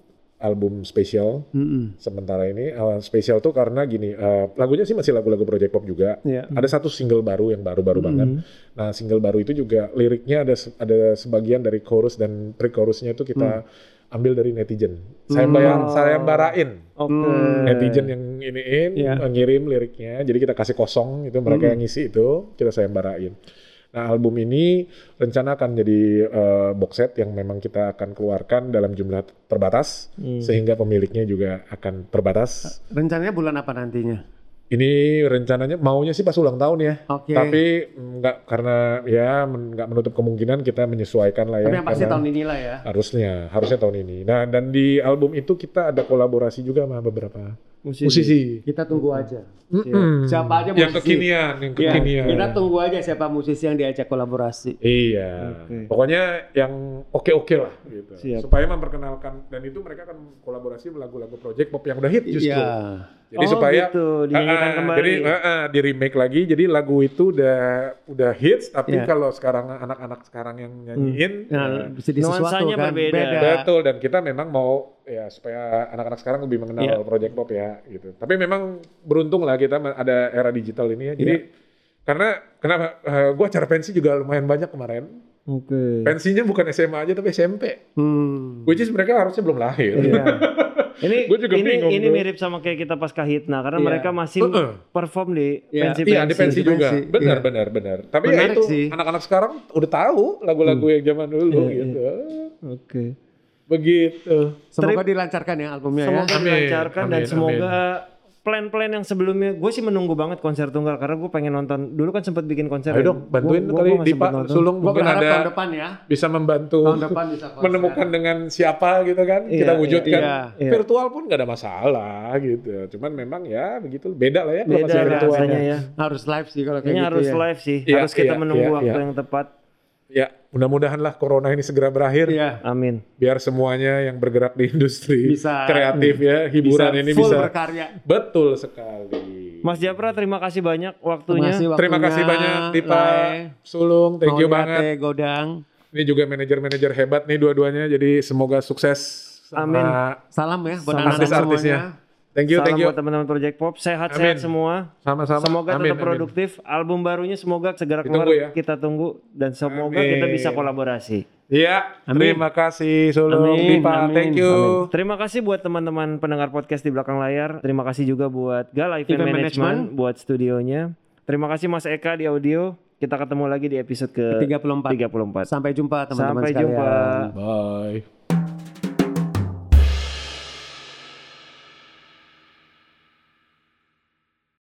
C: album spesial
D: Mm-mm.
C: sementara ini uh, spesial tuh karena gini uh, lagunya sih masih lagu-lagu Project Pop juga
D: Iya.
C: ada satu single baru yang baru-baru banget nah single baru itu juga liriknya ada se- ada sebagian dari chorus dan pre-chorusnya itu kita ambil dari netizen saya bayar saya barain
A: Oke. Eh.
D: Hmm.
C: netizen yang iniin
D: Iya.
C: eh, ngirim liriknya jadi kita kasih kosong itu mereka yang ngisi itu kita sayembarain nah album ini rencana akan jadi eh, box set yang memang kita akan keluarkan dalam jumlah terbatas
A: Hmm.
C: sehingga pemiliknya juga akan terbatas
B: Rencananya bulan apa nantinya?
C: ini rencananya maunya sih pas ulang tahun ya
B: Oke.
C: tapi mm, nggak karena ya men- nggak menutup kemungkinan kita menyesuaikan lah ya
B: Tapi yang pasti
C: karena-
B: tahun inilah ya.
C: harusnya harusnya tahun ini nah dan di album itu kita ada kolaborasi juga sama beberapa
A: musisi.
C: musisi.
B: Kita tunggu aja.
C: Mm-mm.
B: Siapa aja
C: Yang
B: musisi?
C: kekinian, yang
B: Iya,
C: kekinian.
B: kita tunggu aja siapa musisi yang diajak kolaborasi.
C: Iya.
A: Oke.
C: Pokoknya yang oke-oke lah gitu.
A: Siap.
C: Supaya memperkenalkan dan itu mereka akan kolaborasi lagu-lagu project pop yang udah hit justru.
B: Iya.
C: Jadi
A: Oh,
C: supaya
A: gitu, dinyanyikan
C: Ah, ah,
A: kembali.
C: Jadi ah, ah, di remake lagi. Jadi lagu itu udah udah hits tapi
B: Iya.
C: kalau sekarang anak-anak sekarang yang nyanyiin
B: Nah,
C: nah,
B: jadi sesuatu
A: Nuansanya
B: kan
A: berbeda.
C: betul dan kita memang mau ya supaya anak-anak sekarang lebih mengenal project pop ya gitu. Tapi memang beruntung lah kita me- ada era digital ini ya. Jadi karena kenapa eh, gua acara pensi juga lumayan banyak kemarin.
A: Oke.
C: Pensinya bukan SMA aja tapi SMP.
B: Hmm.
C: Which is mereka harusnya belum lahir. [LAUGHS]
A: Iya. Ini
C: Gua juga
A: ini,
C: bingung
A: ini
C: tuh.
A: mirip sama kayak kita pasca hitna karena
B: Iya.
A: mereka masih
C: Heeh.
A: perform di
B: Iya.
A: pensi-pensi.
C: Iya, di pensi
B: pensi,
C: juga.
B: pensi.
C: Benar,
B: Iya.
C: benar, benar. Tapi ya
B: Menarik
C: itu
B: sih.
C: anak-anak sekarang udah tahu lagu-lagu yang zaman dulu
A: Iya,
C: gitu.
A: Oke.
C: Begitu.
B: Semoga dilancarkan ya albumnya ya.
A: Semoga
C: Amin,
A: dilancarkan dan
C: amin,
A: semoga plan-plan yang sebelumnya gue sih menunggu banget konser tunggal karena gue pengen nonton dulu kan sempat bikin konser.
C: Ayo
A: ya.
C: dong, bantuin
A: Gua- gua-
C: kali
A: gua nggak
C: Dipa
A: sempet nonton.
C: Sulung
B: Gua
C: mungkin
B: berharap
C: ada
B: tahun depan ya.
C: bisa membantu [LAUGHS]
B: Tahun depan bisa konser.
C: menemukan dengan siapa gitu kan.
A: Iya,
C: Kita wujudkan.
B: iya,
A: iya.
C: Virtual pun gak ada masalah gitu. Cuman memang ya begitu beda lah ya kalau
A: Beda
C: masih virtual.
A: rasanya ya.
B: Harus live sih kalau kayak
A: Kayaknya
B: gitu
A: harus
B: ya.
A: live sih.
C: Iya,
A: harus kita
C: iya,
A: menunggu
C: iya,
A: waktu
C: iya.
A: yang tepat.
C: Ya, mudah-mudahan lah corona ini segera berakhir.
B: Iya.
A: Amin.
C: Biar semuanya yang bergerak di industri
B: Bisa-
C: kreatif ya, hiburan ini
B: full
C: bisa.
B: berkarya.
C: Betul sekali.
A: Mas Japra terima kasih banyak waktunya.
B: Terima kasih
C: Terima kasih
B: waktunya,
C: banyak Tipa
B: Lai.
C: Sulung, thank you
B: Mohon
C: banget.
B: diate, Godang.
C: Ini juga manajer-manajer hebat nih dua-duanya, jadi semoga sukses. sama
A: Amin.
B: Salam ya buat
A: Sama
B: anak-anak
C: Artis-artisnya.
B: semuanya.
C: Thank you,
A: Salam
C: thank you.
A: buat teman-teman Project Pop. Sehat-sehat
C: Amin.
A: semua.
C: Sama-sama.
A: Semoga
C: Amin,
A: tetap
C: amin.
A: produktif. Album barunya semoga segera keluar.
C: Ditunggu ya.
A: Kita tunggu dan semoga
C: Amin.
A: kita bisa kolaborasi.
C: Iya,
B: Amin.
C: terima kasih Sulung,
B: Amin,
C: Tipa,
B: amin,
C: thank you.
A: Amin. Terima kasih buat teman-teman pendengar podcast di belakang layar. Terima kasih juga buat Gala Event, Management,
B: Event Management.
A: buat studionya. Terima kasih Mas Eka di audio. Kita ketemu lagi di episode ke
B: 34.
A: 34.
B: Sampai jumpa teman-teman
A: Sampai
B: sekalian.
A: jumpa.
C: Bye.